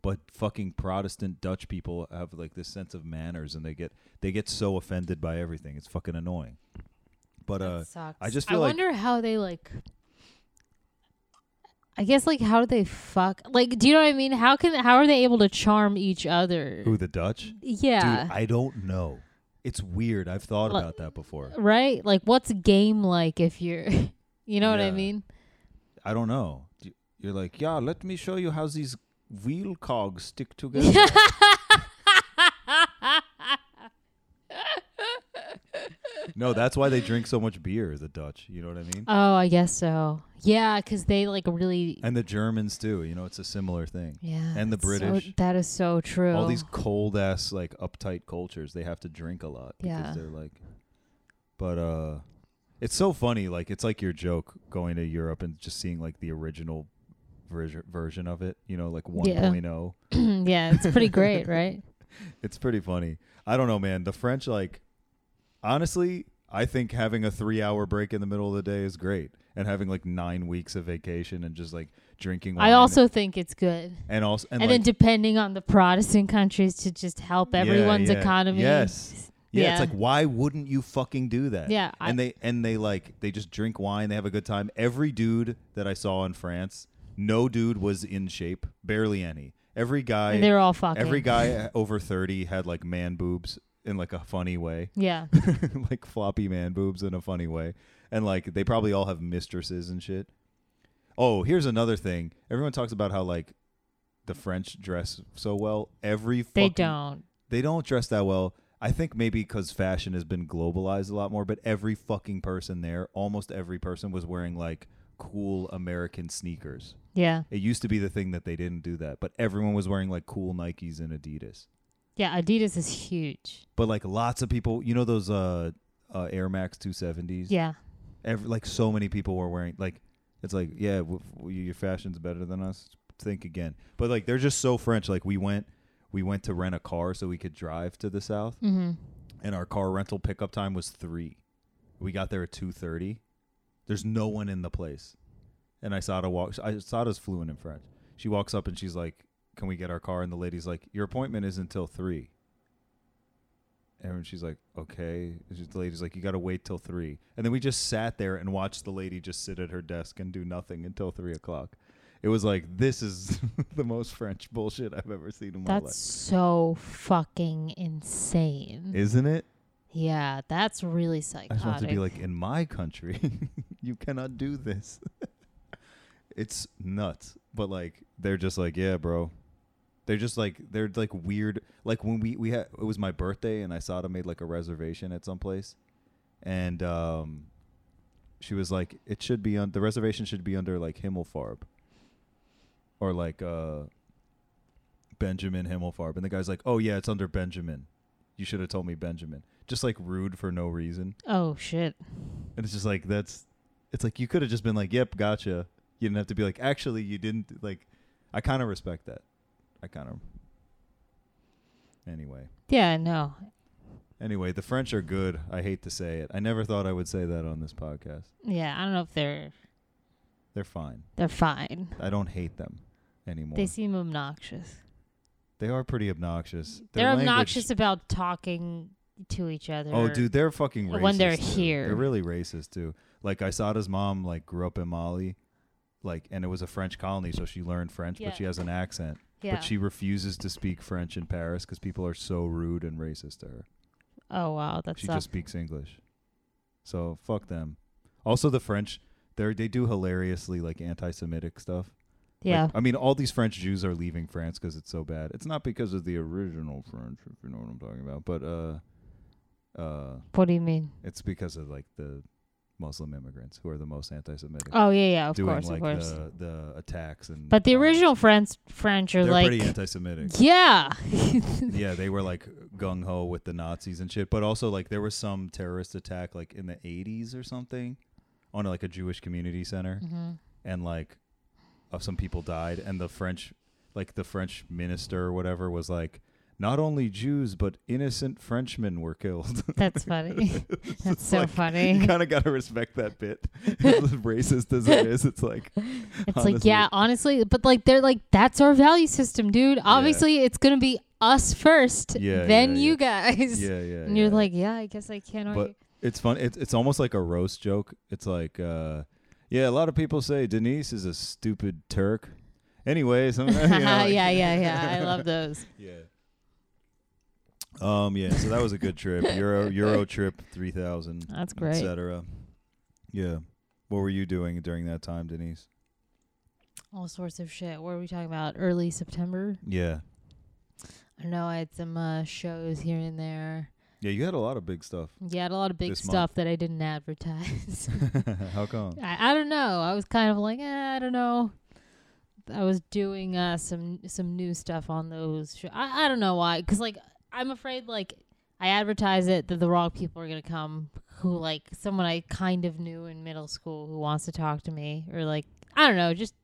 Speaker 3: But fucking Protestant Dutch people have like this sense of manners and they get they get so offended by everything. It's fucking annoying. But uh
Speaker 4: That sucks.
Speaker 3: I just feel like
Speaker 4: wonder how they like. I guess like how do they fuck? Like, do you know what I mean? How can how are they able to charm each other?
Speaker 3: who the Dutch?
Speaker 4: yeah,
Speaker 3: Dude, I don't know. It's weird. I've thought
Speaker 4: Like-
Speaker 3: about that before.
Speaker 4: right. Like, what's game like if you're, you know what
Speaker 3: Yeah.
Speaker 4: I mean?
Speaker 3: I don't know. You- You're like, "Yeah, let me show you how these wheel cogs stick together." no, that's why they drink so much beer, the Dutch. You know what I mean?
Speaker 4: Oh, I guess so. Yeah, because they like really.
Speaker 3: And the Germans too. You know, it's a similar thing.
Speaker 4: yeah,
Speaker 3: and the
Speaker 4: that's so-
Speaker 3: British.
Speaker 4: that is so true.
Speaker 3: All these cold ass like uptight cultures, they have to drink a lot because
Speaker 4: Yeah.
Speaker 3: they're like. But uh, it's so funny. Like it's like your joke going to Europe and just seeing like the original version version of it. You know, like 1.0.
Speaker 4: yeah, it's pretty great, right?
Speaker 3: It's pretty funny. I don't know, man. The French, like, honestly, I think having a three hour break in the middle of the day is great, and having like nine weeks of vacation and just like drinking. Wine
Speaker 4: I also think it's good.
Speaker 3: and also and,
Speaker 4: and,
Speaker 3: like,
Speaker 4: then depending on the Protestant countries to just help
Speaker 3: Yeah,
Speaker 4: everyone's
Speaker 3: yeah.
Speaker 4: economy.
Speaker 3: Yes. Yeah, it's
Speaker 4: Yeah.
Speaker 3: like why wouldn't you fucking do that?
Speaker 4: Yeah, I-
Speaker 3: and they and they like they just drink wine, they have a good time. Every dude that I saw in France, no dude was in shape, barely any. Every guy,
Speaker 4: And they're all fucking.
Speaker 3: every guy over thirty had like man boobs in like a funny way,
Speaker 4: Yeah.
Speaker 3: like floppy man boobs in a funny way, and like they probably all have mistresses and shit. Oh, here's another thing. Everyone talks about how like the French dress so well. Every
Speaker 4: They
Speaker 3: fucking
Speaker 4: don't.
Speaker 3: they don't dress that well. I think maybe because fashion has been globalized a lot more, but every fucking person there, almost every person, was wearing like cool American sneakers.
Speaker 4: Yeah.
Speaker 3: It used to be the thing that they didn't do that, but everyone was wearing like cool Nikes and Adidas.
Speaker 4: Yeah. Adidas is huge.
Speaker 3: But like lots of people, you know those uh, uh Air Max 270s?
Speaker 4: Yeah.
Speaker 3: Every, like so many people were wearing like it's like yeah, w- w- your fashion's better than us. Think again. But like they're just so French. Like we went we went to rent a car so we could drive to the south.
Speaker 4: Mm-hmm.
Speaker 3: and our car rental pickup time was three. We got there at two thirty. There's no one in the place, and Isada walks. Isada's fluent in French. She walks up and she's like, "Can we get our car?" And the lady's like, "Your appointment is until three. And she's like, "Okay." And she's- the lady's like, "You got to wait till three. And then we just sat there and watched the lady just sit at her desk and do nothing until three o'clock. It was like this is the most French bullshit I've ever seen in my
Speaker 4: That's so fucking insane.
Speaker 3: life, isn't it?
Speaker 4: yeah. That's really
Speaker 3: I just want to
Speaker 4: psychotic.
Speaker 3: be like, in my country, you cannot do this. it's nuts. But like, they're just like, yeah, bro. They're just like, they're like weird. Like when we we had, it was my birthday, and I saw them made like a reservation at some place, and um, she was like, it should be on the reservation should be under like Himmelfarb, or like uh, Benjamin Himmelfarb, and the guy's like, oh yeah, it's under Benjamin. You should have told me Benjamin. Just like rude for no reason.
Speaker 4: oh, shit.
Speaker 3: And it's just like that's it's like you could have just been like, "Yep, gotcha." You didn't have to be like, "Actually, you didn't." Like I kind of respect that. I kind of Anyway.
Speaker 4: Yeah. No.
Speaker 3: Anyway, the French are good. I hate to say it. I never thought I would say that on this podcast.
Speaker 4: Yeah. I don't know if they're
Speaker 3: They're fine.
Speaker 4: they're fine.
Speaker 3: I don't hate them anymore.
Speaker 4: They seem obnoxious.
Speaker 3: They are pretty obnoxious. Their
Speaker 4: They're
Speaker 3: language-
Speaker 4: obnoxious about talking to each other.
Speaker 3: Oh, dude, they're fucking racist.
Speaker 4: when they're
Speaker 3: dude.
Speaker 4: here.
Speaker 3: They're really racist too. Like Isada's mom, like grew up in Mali, like, and it was a French colony, so she learned French,
Speaker 4: Yeah.
Speaker 3: but she has an accent.
Speaker 4: Yeah.
Speaker 3: But she refuses to speak French in Paris because people are so rude and racist to her.
Speaker 4: Oh wow, that's
Speaker 3: she
Speaker 4: tough.
Speaker 3: just speaks English. So fuck them. Also, the French, they are they do hilariously like anti-Semitic stuff. Like,
Speaker 4: yeah.
Speaker 3: I mean, all these French Jews are leaving France because it's so bad. It's not because of the original French, if you know what I'm talking about, but uh, uh,
Speaker 4: what do you mean?
Speaker 3: it's because of like the Muslim immigrants who are the most anti-Semitic,
Speaker 4: Oh yeah, yeah. Of
Speaker 3: doing
Speaker 4: course,
Speaker 3: like uh,
Speaker 4: of course.
Speaker 3: the the attacks and.
Speaker 4: but the
Speaker 3: all that.
Speaker 4: original French French are
Speaker 3: They're
Speaker 4: like,
Speaker 3: pretty anti-Semitic.
Speaker 4: yeah,
Speaker 3: yeah, they were like gung ho with the Nazis and shit. But also like there was some terrorist attack like in the eighties or something on like a Jewish community center
Speaker 4: Mm-hmm.
Speaker 3: and like uh, some people died and the French like the French minister or whatever was like not only Jews but innocent Frenchmen were killed.
Speaker 4: that's funny. that's so
Speaker 3: like, You
Speaker 4: funny.
Speaker 3: kind of got to respect that bit. as racist as it is, it's like
Speaker 4: It's like
Speaker 3: honestly.
Speaker 4: yeah, honestly, but like they're like that's our value system, dude. Obviously, it's gonna be us first,
Speaker 3: Yeah,
Speaker 4: then
Speaker 3: yeah,
Speaker 4: you guys.
Speaker 3: yeah, yeah.
Speaker 4: and you're
Speaker 3: yeah.
Speaker 4: like, yeah, I guess I can't
Speaker 3: But-
Speaker 4: argue.
Speaker 3: It's fun. It's it's almost like a roast joke. It's like, uh, yeah, a lot of people say Denise is a stupid Turk. Anyways, I'm, you know, like-
Speaker 4: yeah, yeah, yeah. I love those.
Speaker 3: yeah. Um. Yeah. So that was a good trip. Euro Euro trip three thousand.
Speaker 4: That's great.
Speaker 3: Etc. Yeah. What were you doing during that time, Denise?
Speaker 4: All sorts of shit. What are we talking about? Early September?
Speaker 3: Yeah.
Speaker 4: I know I had some uh, shows here and there.
Speaker 3: Yeah. You had a lot of big stuff.
Speaker 4: Yeah, I had a lot of big
Speaker 3: This month.
Speaker 4: stuff that I didn't advertise.
Speaker 3: How come?
Speaker 4: I, I don't know. I was kind of like, eh, I don't know. I was doing uh, some some new stuff on those. Sh- I I don't know why, because like I'm afraid like I advertise it that the wrong people are gonna come. Who like someone I kind of knew in middle school who wants to talk to me or like I don't know. Just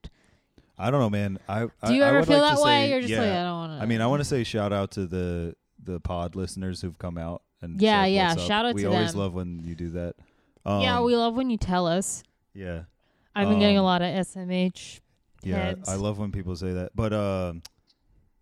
Speaker 3: I don't know, man. I do
Speaker 4: do you
Speaker 3: I,
Speaker 4: ever
Speaker 3: would
Speaker 4: feel
Speaker 3: like
Speaker 4: that
Speaker 3: to
Speaker 4: way?
Speaker 3: Say,
Speaker 4: You're just
Speaker 3: yeah,
Speaker 4: like I don't want to.
Speaker 3: I mean, I want to say shout out to the the pod listeners who've come out and
Speaker 4: Yeah,
Speaker 3: said
Speaker 4: yeah,
Speaker 3: what's up.
Speaker 4: shout out
Speaker 3: we
Speaker 4: to
Speaker 3: always
Speaker 4: them.
Speaker 3: love when you do that. Um,
Speaker 4: yeah, we love when you tell us.
Speaker 3: yeah,
Speaker 4: I've been getting a
Speaker 3: um,
Speaker 4: lot of SMH.
Speaker 3: yeah.
Speaker 4: Heads.
Speaker 3: I love when people say that, but um,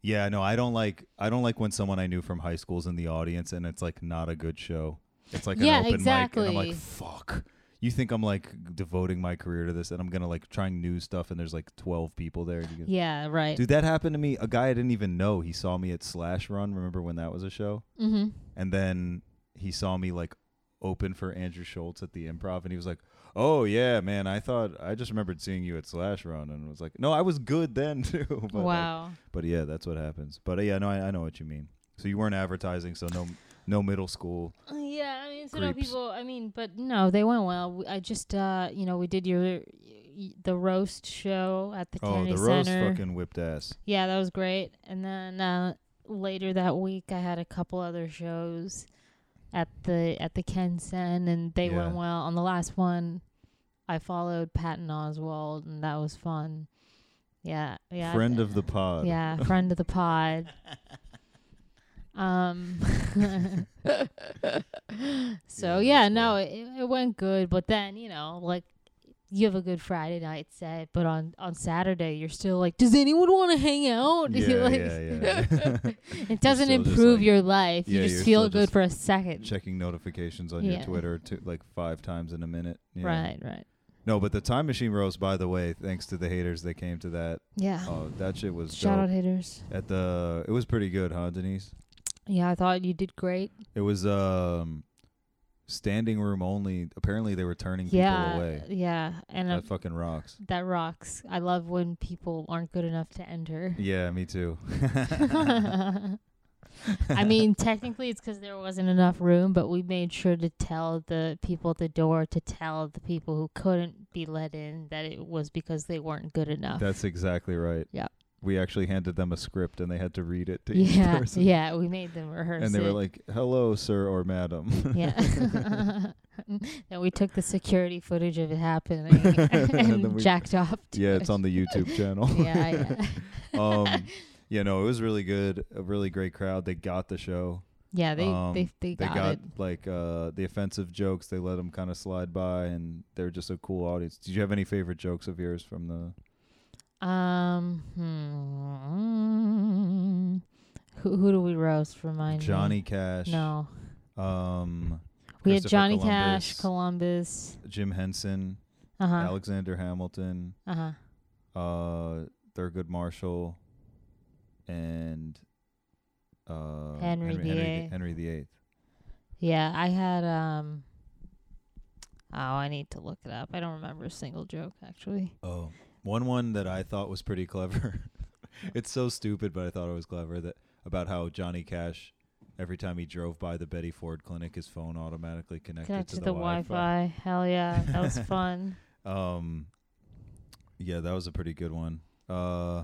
Speaker 3: yeah, no, I don't like I don't like when someone I knew from high school's in the audience and it's like not a good show. It's like
Speaker 4: Yeah,
Speaker 3: an open mic, and I'm
Speaker 4: exactly.
Speaker 3: like, fuck. You think I'm like devoting my career to this, and I'm gonna like trying new stuff, and there's like 12 people there. and you go-
Speaker 4: Yeah, right.
Speaker 3: Dude, that happened to me. A guy I didn't even know. He saw me at Slash Run. Remember when that was a show?
Speaker 4: Mm-hmm.
Speaker 3: And then he saw me like open for Andrew Schultz at the improv and he was like, Oh yeah, man, I thought I just remembered seeing you at Slash Run and was like, No, I was good then too. but like-
Speaker 4: Wow.
Speaker 3: but yeah, that's what happens. But uh, yeah, no, I, I know what you mean. So you weren't advertising, so no no middle school.
Speaker 4: Uh, Yeah, I mean, so no
Speaker 3: Creeps.
Speaker 4: people. I mean, but no, they went well. W- I just, uh, you know, we did your y- y- the roast show at the
Speaker 3: Oh,
Speaker 4: Kennedy
Speaker 3: the Rose
Speaker 4: Center.
Speaker 3: fucking whipped ass.
Speaker 4: yeah, that was great. And then uh, later that week, I had a couple other shows at the at the Kensen, and they went
Speaker 3: Yeah.
Speaker 4: well. On the last one, I followed Patton Oswald, and that was fun. Yeah, yeah. I
Speaker 3: Friend
Speaker 4: d-
Speaker 3: of the pod.
Speaker 4: yeah, friend of the pod. Um. so
Speaker 3: Yeah,
Speaker 4: yeah,
Speaker 3: that's
Speaker 4: no, it, it went good, but then you know, like you have a good Friday night set, but on on Saturday you're still like, does anyone want to hang out?
Speaker 3: Yeah,
Speaker 4: You're like-
Speaker 3: yeah, yeah.
Speaker 4: it doesn't
Speaker 3: still just
Speaker 4: improve
Speaker 3: like-
Speaker 4: your life.
Speaker 3: Yeah,
Speaker 4: you
Speaker 3: you're
Speaker 4: just feel
Speaker 3: still
Speaker 4: good
Speaker 3: just
Speaker 4: for a second.
Speaker 3: Checking notifications on your
Speaker 4: Yeah.
Speaker 3: Twitter to, like five times in a minute. Yeah.
Speaker 4: Right, right.
Speaker 3: No, but the time machine roast, by the way, thanks to the haters that came to that.
Speaker 4: Yeah.
Speaker 3: Oh, that shit was
Speaker 4: Shout out
Speaker 3: dope.
Speaker 4: hitters.
Speaker 3: At the it was pretty good, huh, Denise?
Speaker 4: Yeah, I thought you did great.
Speaker 3: It was um standing room only. Apparently they were turning
Speaker 4: yeah,
Speaker 3: people away.
Speaker 4: yeah, and uh,
Speaker 3: That fucking rocks.
Speaker 4: that rocks. I love when people aren't good enough to enter.
Speaker 3: Yeah, me too.
Speaker 4: I mean, technically, it's because there wasn't enough room, but we made sure to tell the people at the door to tell the people who couldn't be let in that it was because they weren't good enough.
Speaker 3: That's exactly right.
Speaker 4: Yeah.
Speaker 3: We actually handed them a script and they had to read it to each
Speaker 4: yeah,
Speaker 3: person.
Speaker 4: yeah, we made them rehearse.
Speaker 3: And they were
Speaker 4: it.
Speaker 3: like, "Hello, sir or madam."
Speaker 4: yeah. and we took the security footage of it happening and,
Speaker 3: And then we-
Speaker 4: jacked off. to
Speaker 3: yeah,
Speaker 4: it.
Speaker 3: it's on the YouTube channel.
Speaker 4: yeah, yeah,
Speaker 3: um, yeah, no, it was really good. A really great crowd. They got the show.
Speaker 4: yeah. They
Speaker 3: Um,
Speaker 4: they they
Speaker 3: they
Speaker 4: got,
Speaker 3: got
Speaker 4: it.
Speaker 3: like uh, the offensive jokes. They let them kind of slide by, and they're just a cool audience. Did you have any favorite jokes of yours from the?
Speaker 4: Um, hmm. Who, who do we roast? Remind
Speaker 3: Johnny Cash.
Speaker 4: me. No,
Speaker 3: Um,
Speaker 4: we had
Speaker 3: Christopher
Speaker 4: Johnny Cash,
Speaker 3: Columbus,
Speaker 4: Columbus.
Speaker 3: Jim Henson,
Speaker 4: Uh huh.
Speaker 3: Alexander Hamilton,
Speaker 4: Uh huh.
Speaker 3: uh, Thurgood Marshall, and uh,
Speaker 4: Henry VIII.
Speaker 3: Henry the Eighth.
Speaker 4: Yeah, I had um. Oh, I need to look it up. I don't remember a single joke actually.
Speaker 3: Oh, one one that I thought was pretty clever. it's so stupid, but I thought it was clever that about how Johnny Cash, every time he drove by the Betty Ford clinic, his phone automatically connected
Speaker 4: Connected
Speaker 3: to
Speaker 4: to
Speaker 3: the,
Speaker 4: the Wi-Fi. Hell yeah, that was fun.
Speaker 3: Um, yeah, that was a pretty good one. Uh,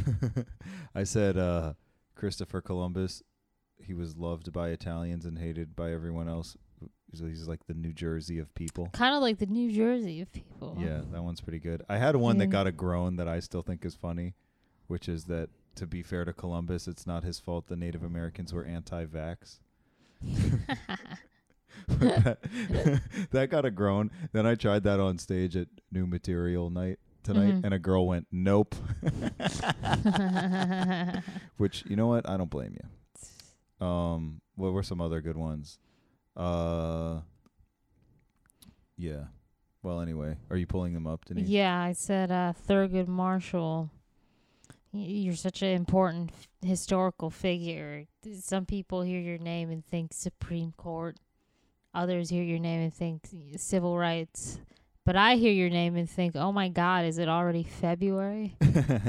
Speaker 3: I said uh, Christopher Columbus. He was loved by Italians and hated by everyone else. He's- He's like the New Jersey of people.
Speaker 4: kind of like the New Jersey of people.
Speaker 3: Yeah, that one's pretty good. I had one that
Speaker 4: Yeah.
Speaker 3: got a groan that I still think is funny, which is that to be fair to Columbus, it's not his fault the Native Americans were anti-vax. that, that got a groan. Then I tried that on stage at New Material Night tonight,
Speaker 4: Mhm.
Speaker 3: and a girl went, "Nope," which you know what? I don't blame you. Um, what were some other good ones? Uh, yeah. Well, anyway, are you pulling them up, Denise?
Speaker 4: yeah, I said uh, Thurgood Marshall. y- You're such an important f- historical figure. Some people hear your name and think Supreme Court. Others hear your name and think civil rights. But I hear your name and think, oh my God, is it already February?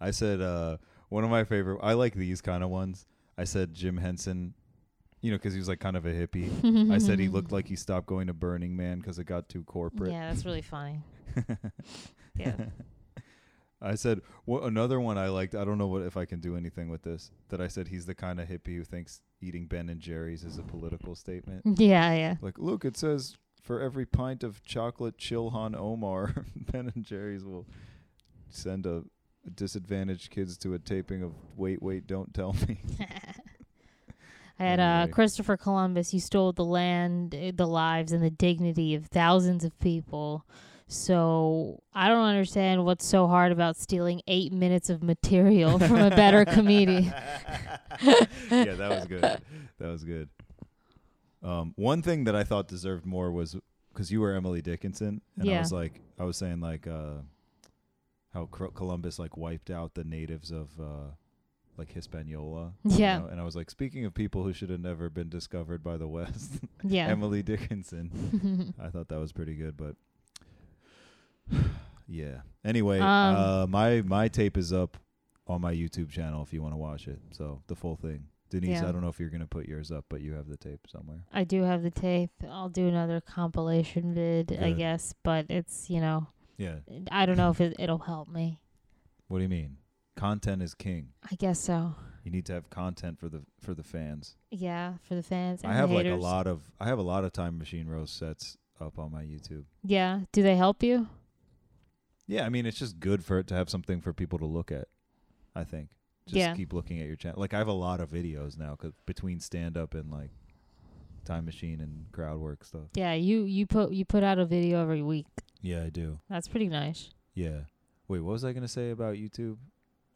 Speaker 3: I said uh, one of my favorite. I like these kind of ones. I said Jim Henson, you know, because he was like kind of a hippie. I said he looked like he stopped going to Burning Man because it got too corporate.
Speaker 4: Yeah, that's really funny. yeah.
Speaker 3: I said wha- another one I liked. I don't know what if I can do anything with this. That I said he's the kind of hippie who thinks eating Ben and Jerry's is a political statement.
Speaker 4: Yeah, yeah.
Speaker 3: Like, look, it says for every pint of chocolate Chilhan Omar, Ben and Jerry's will send a disadvantaged kids to a taping of Wait, Wait, Don't Tell Me.
Speaker 4: I had uh,
Speaker 3: Anyway.
Speaker 4: Christopher Columbus. You stole the land, eh, the lives, and the dignity of thousands of people. So I don't understand what's so hard about stealing eight minutes of material from a better comedian.
Speaker 3: yeah, that was good. That was good. Um, one thing that I thought deserved more was because you were Emily Dickinson, and I
Speaker 4: Yeah.
Speaker 3: was like, I was saying like uh, how Cro- Columbus like wiped out the natives of uh, like Hispaniola. you
Speaker 4: Yeah.
Speaker 3: know? and I was like, speaking of people who should have never been discovered by the West,
Speaker 4: Yeah.
Speaker 3: Emily Dickinson. I thought that was pretty good, but yeah. Anyway,
Speaker 4: Um,
Speaker 3: uh, my my tape is up on my YouTube channel if you want to watch it. So the full thing. Denise,
Speaker 4: Yeah.
Speaker 3: I don't know if you're gonna put yours up, but you have the tape somewhere.
Speaker 4: I do have the tape. I'll do another compilation vid, I
Speaker 3: Good.
Speaker 4: guess, but it's, you know,
Speaker 3: Yeah.
Speaker 4: I don't know if it, it'll help me.
Speaker 3: What do you mean? Content is king.
Speaker 4: I guess so.
Speaker 3: You need to have content for the for the fans.
Speaker 4: Yeah, for the fans. And
Speaker 3: I have
Speaker 4: the
Speaker 3: like a
Speaker 4: haters.
Speaker 3: lot of I have a lot of time machine roast sets up on my YouTube.
Speaker 4: Yeah. Do they help you?
Speaker 3: Yeah, I mean it's just good for it to have something for people to look at. I think just
Speaker 4: Yeah.
Speaker 3: keep looking at your channel. Like I have a lot of videos now 'cause between stand up and like time machine and crowd work stuff.
Speaker 4: Yeah. You you put you put out a video every week.
Speaker 3: Yeah, I do.
Speaker 4: That's pretty nice.
Speaker 3: Yeah. Wait, what was I gonna say about YouTube?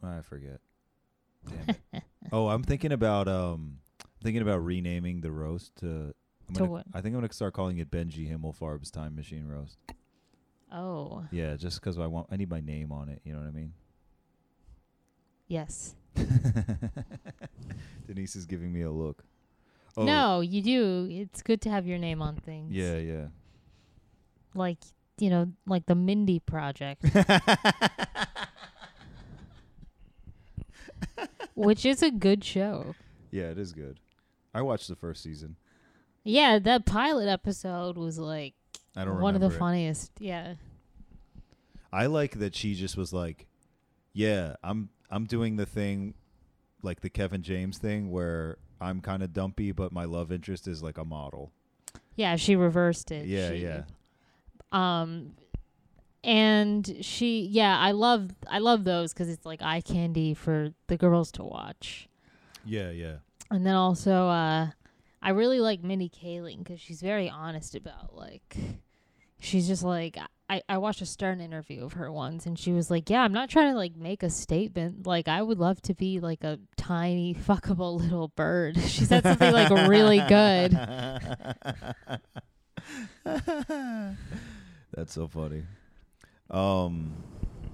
Speaker 3: I forget. Damn it. oh, I'm thinking about um, thinking about renaming the roast to. I'm
Speaker 4: To
Speaker 3: gonna,
Speaker 4: what?
Speaker 3: I think I'm gonna start calling it Benji Himmelfarb's Time Machine Roast.
Speaker 4: Oh,
Speaker 3: Yeah, just 'cause I want, I need my name on it. You know what I mean?
Speaker 4: yes.
Speaker 3: Denise is giving me a look. Oh,
Speaker 4: No, you do. It's good to have your name on things.
Speaker 3: Yeah, yeah.
Speaker 4: Like, you know, like the Mindy Project, which is a good show.
Speaker 3: yeah, it is good. I watched the first season.
Speaker 4: Yeah, that pilot episode was like
Speaker 3: I don't
Speaker 4: one of
Speaker 3: remember
Speaker 4: the
Speaker 3: it.
Speaker 4: funniest. Yeah.
Speaker 3: I like that she just was like, "Yeah, I'm I'm doing the thing, like the Kevin James thing, where I'm kind of dumpy, but my love interest is like a model."
Speaker 4: Yeah, she reversed it.
Speaker 3: yeah,
Speaker 4: She-
Speaker 3: yeah,
Speaker 4: Um and she yeah, I love I love those cuz it's like eye candy for the girls to watch.
Speaker 3: yeah, yeah,
Speaker 4: And then also, uh, I really like Minnie Kaling because she's very honest about like, she's just like, I, I watched a Stern interview of her once, and she was like, "Yeah, I'm not trying to like make a statement. Like, I would love to be like a tiny fuckable little bird." she said something like really good.
Speaker 3: That's so funny. Um,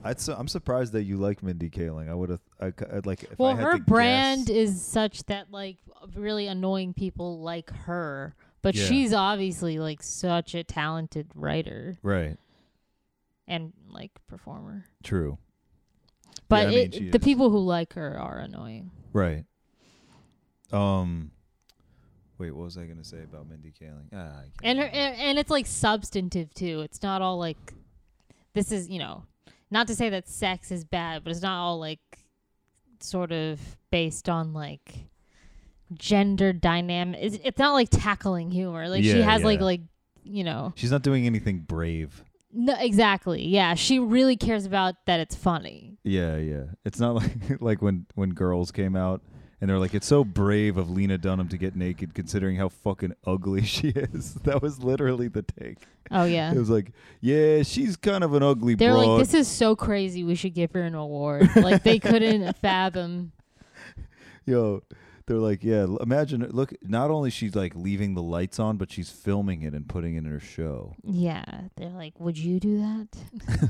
Speaker 3: I'd su- I'm surprised that you like Mindy Kaling. I would have, I, c- I'd like. If I
Speaker 4: well,
Speaker 3: had
Speaker 4: her
Speaker 3: to
Speaker 4: brand
Speaker 3: guess-
Speaker 4: is such that like really annoying people like her, but
Speaker 3: Yeah.
Speaker 4: she's obviously like such a talented writer
Speaker 3: right.
Speaker 4: and like performer.
Speaker 3: True.
Speaker 4: But
Speaker 3: I mean,
Speaker 4: it,
Speaker 3: she
Speaker 4: the
Speaker 3: is.
Speaker 4: people who like her are annoying.
Speaker 3: Right. Um. Wait, what was I gonna say about Mindy Kaling? Ah, I can't
Speaker 4: and her,
Speaker 3: remember.
Speaker 4: and and it's like substantive too. It's not all like this is you know not to say that sex is bad, but it's not all like sort of based on like gender dynamic. It's, it's not like tackling humor. Like she
Speaker 3: Yeah,
Speaker 4: has like
Speaker 3: yeah.
Speaker 4: like you know
Speaker 3: she's not doing anything brave.
Speaker 4: no exactly yeah. She really cares about that it's funny.
Speaker 3: Yeah, yeah. It's not like like when when girls came out and they're like, it's so brave of Lena Dunham to get naked considering how fucking ugly she is. That was literally the take.
Speaker 4: Oh yeah.
Speaker 3: It was like, yeah, she's kind of an ugly
Speaker 4: They're
Speaker 3: broad.
Speaker 4: like, this is so crazy. We should give her an award. like they couldn't fathom.
Speaker 3: Yo, they're like, yeah. l- Imagine, look. Not only she's like leaving the lights on, but she's filming it and putting it in her show.
Speaker 4: Yeah, they're like, would you do that?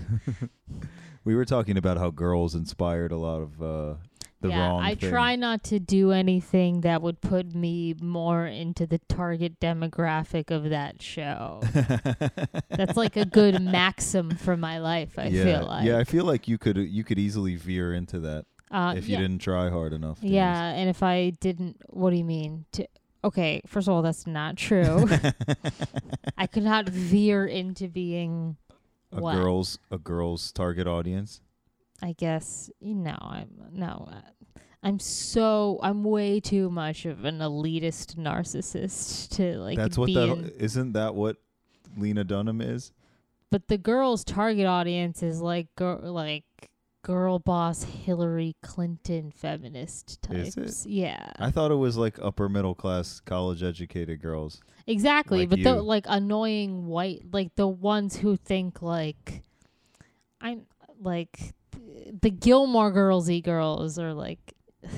Speaker 3: We were talking about how girls inspired a lot of uh, the wrong.
Speaker 4: I
Speaker 3: thing.
Speaker 4: try not to do anything that would put me more into the target demographic of that show. That's like a good maxim for my life, I
Speaker 3: yeah,
Speaker 4: feel like.
Speaker 3: yeah. I feel like you could you could easily veer into that
Speaker 4: Uh,
Speaker 3: if you
Speaker 4: yeah,
Speaker 3: didn't try hard enough. to
Speaker 4: Yeah, and if I didn't, what do you mean? To, okay, first of all, that's not true. I could not veer into being
Speaker 3: a
Speaker 4: what?
Speaker 3: girl's a girl's target audience.
Speaker 4: I guess you know I'm no uh, I'm so I'm way too much of an elitist narcissist to like
Speaker 3: That's what
Speaker 4: be
Speaker 3: that
Speaker 4: in-
Speaker 3: isn't that what Lena Dunham is?
Speaker 4: but the girls' target audience is like girl, like girl boss Hillary Clinton feminist
Speaker 3: Is
Speaker 4: types.
Speaker 3: it?
Speaker 4: Yeah,
Speaker 3: I thought it was like upper middle class college educated girls.
Speaker 4: exactly.
Speaker 3: like
Speaker 4: but the
Speaker 3: you.
Speaker 4: like annoying white, like the ones who think like I'm like the Gilmore Girlsy girls are like.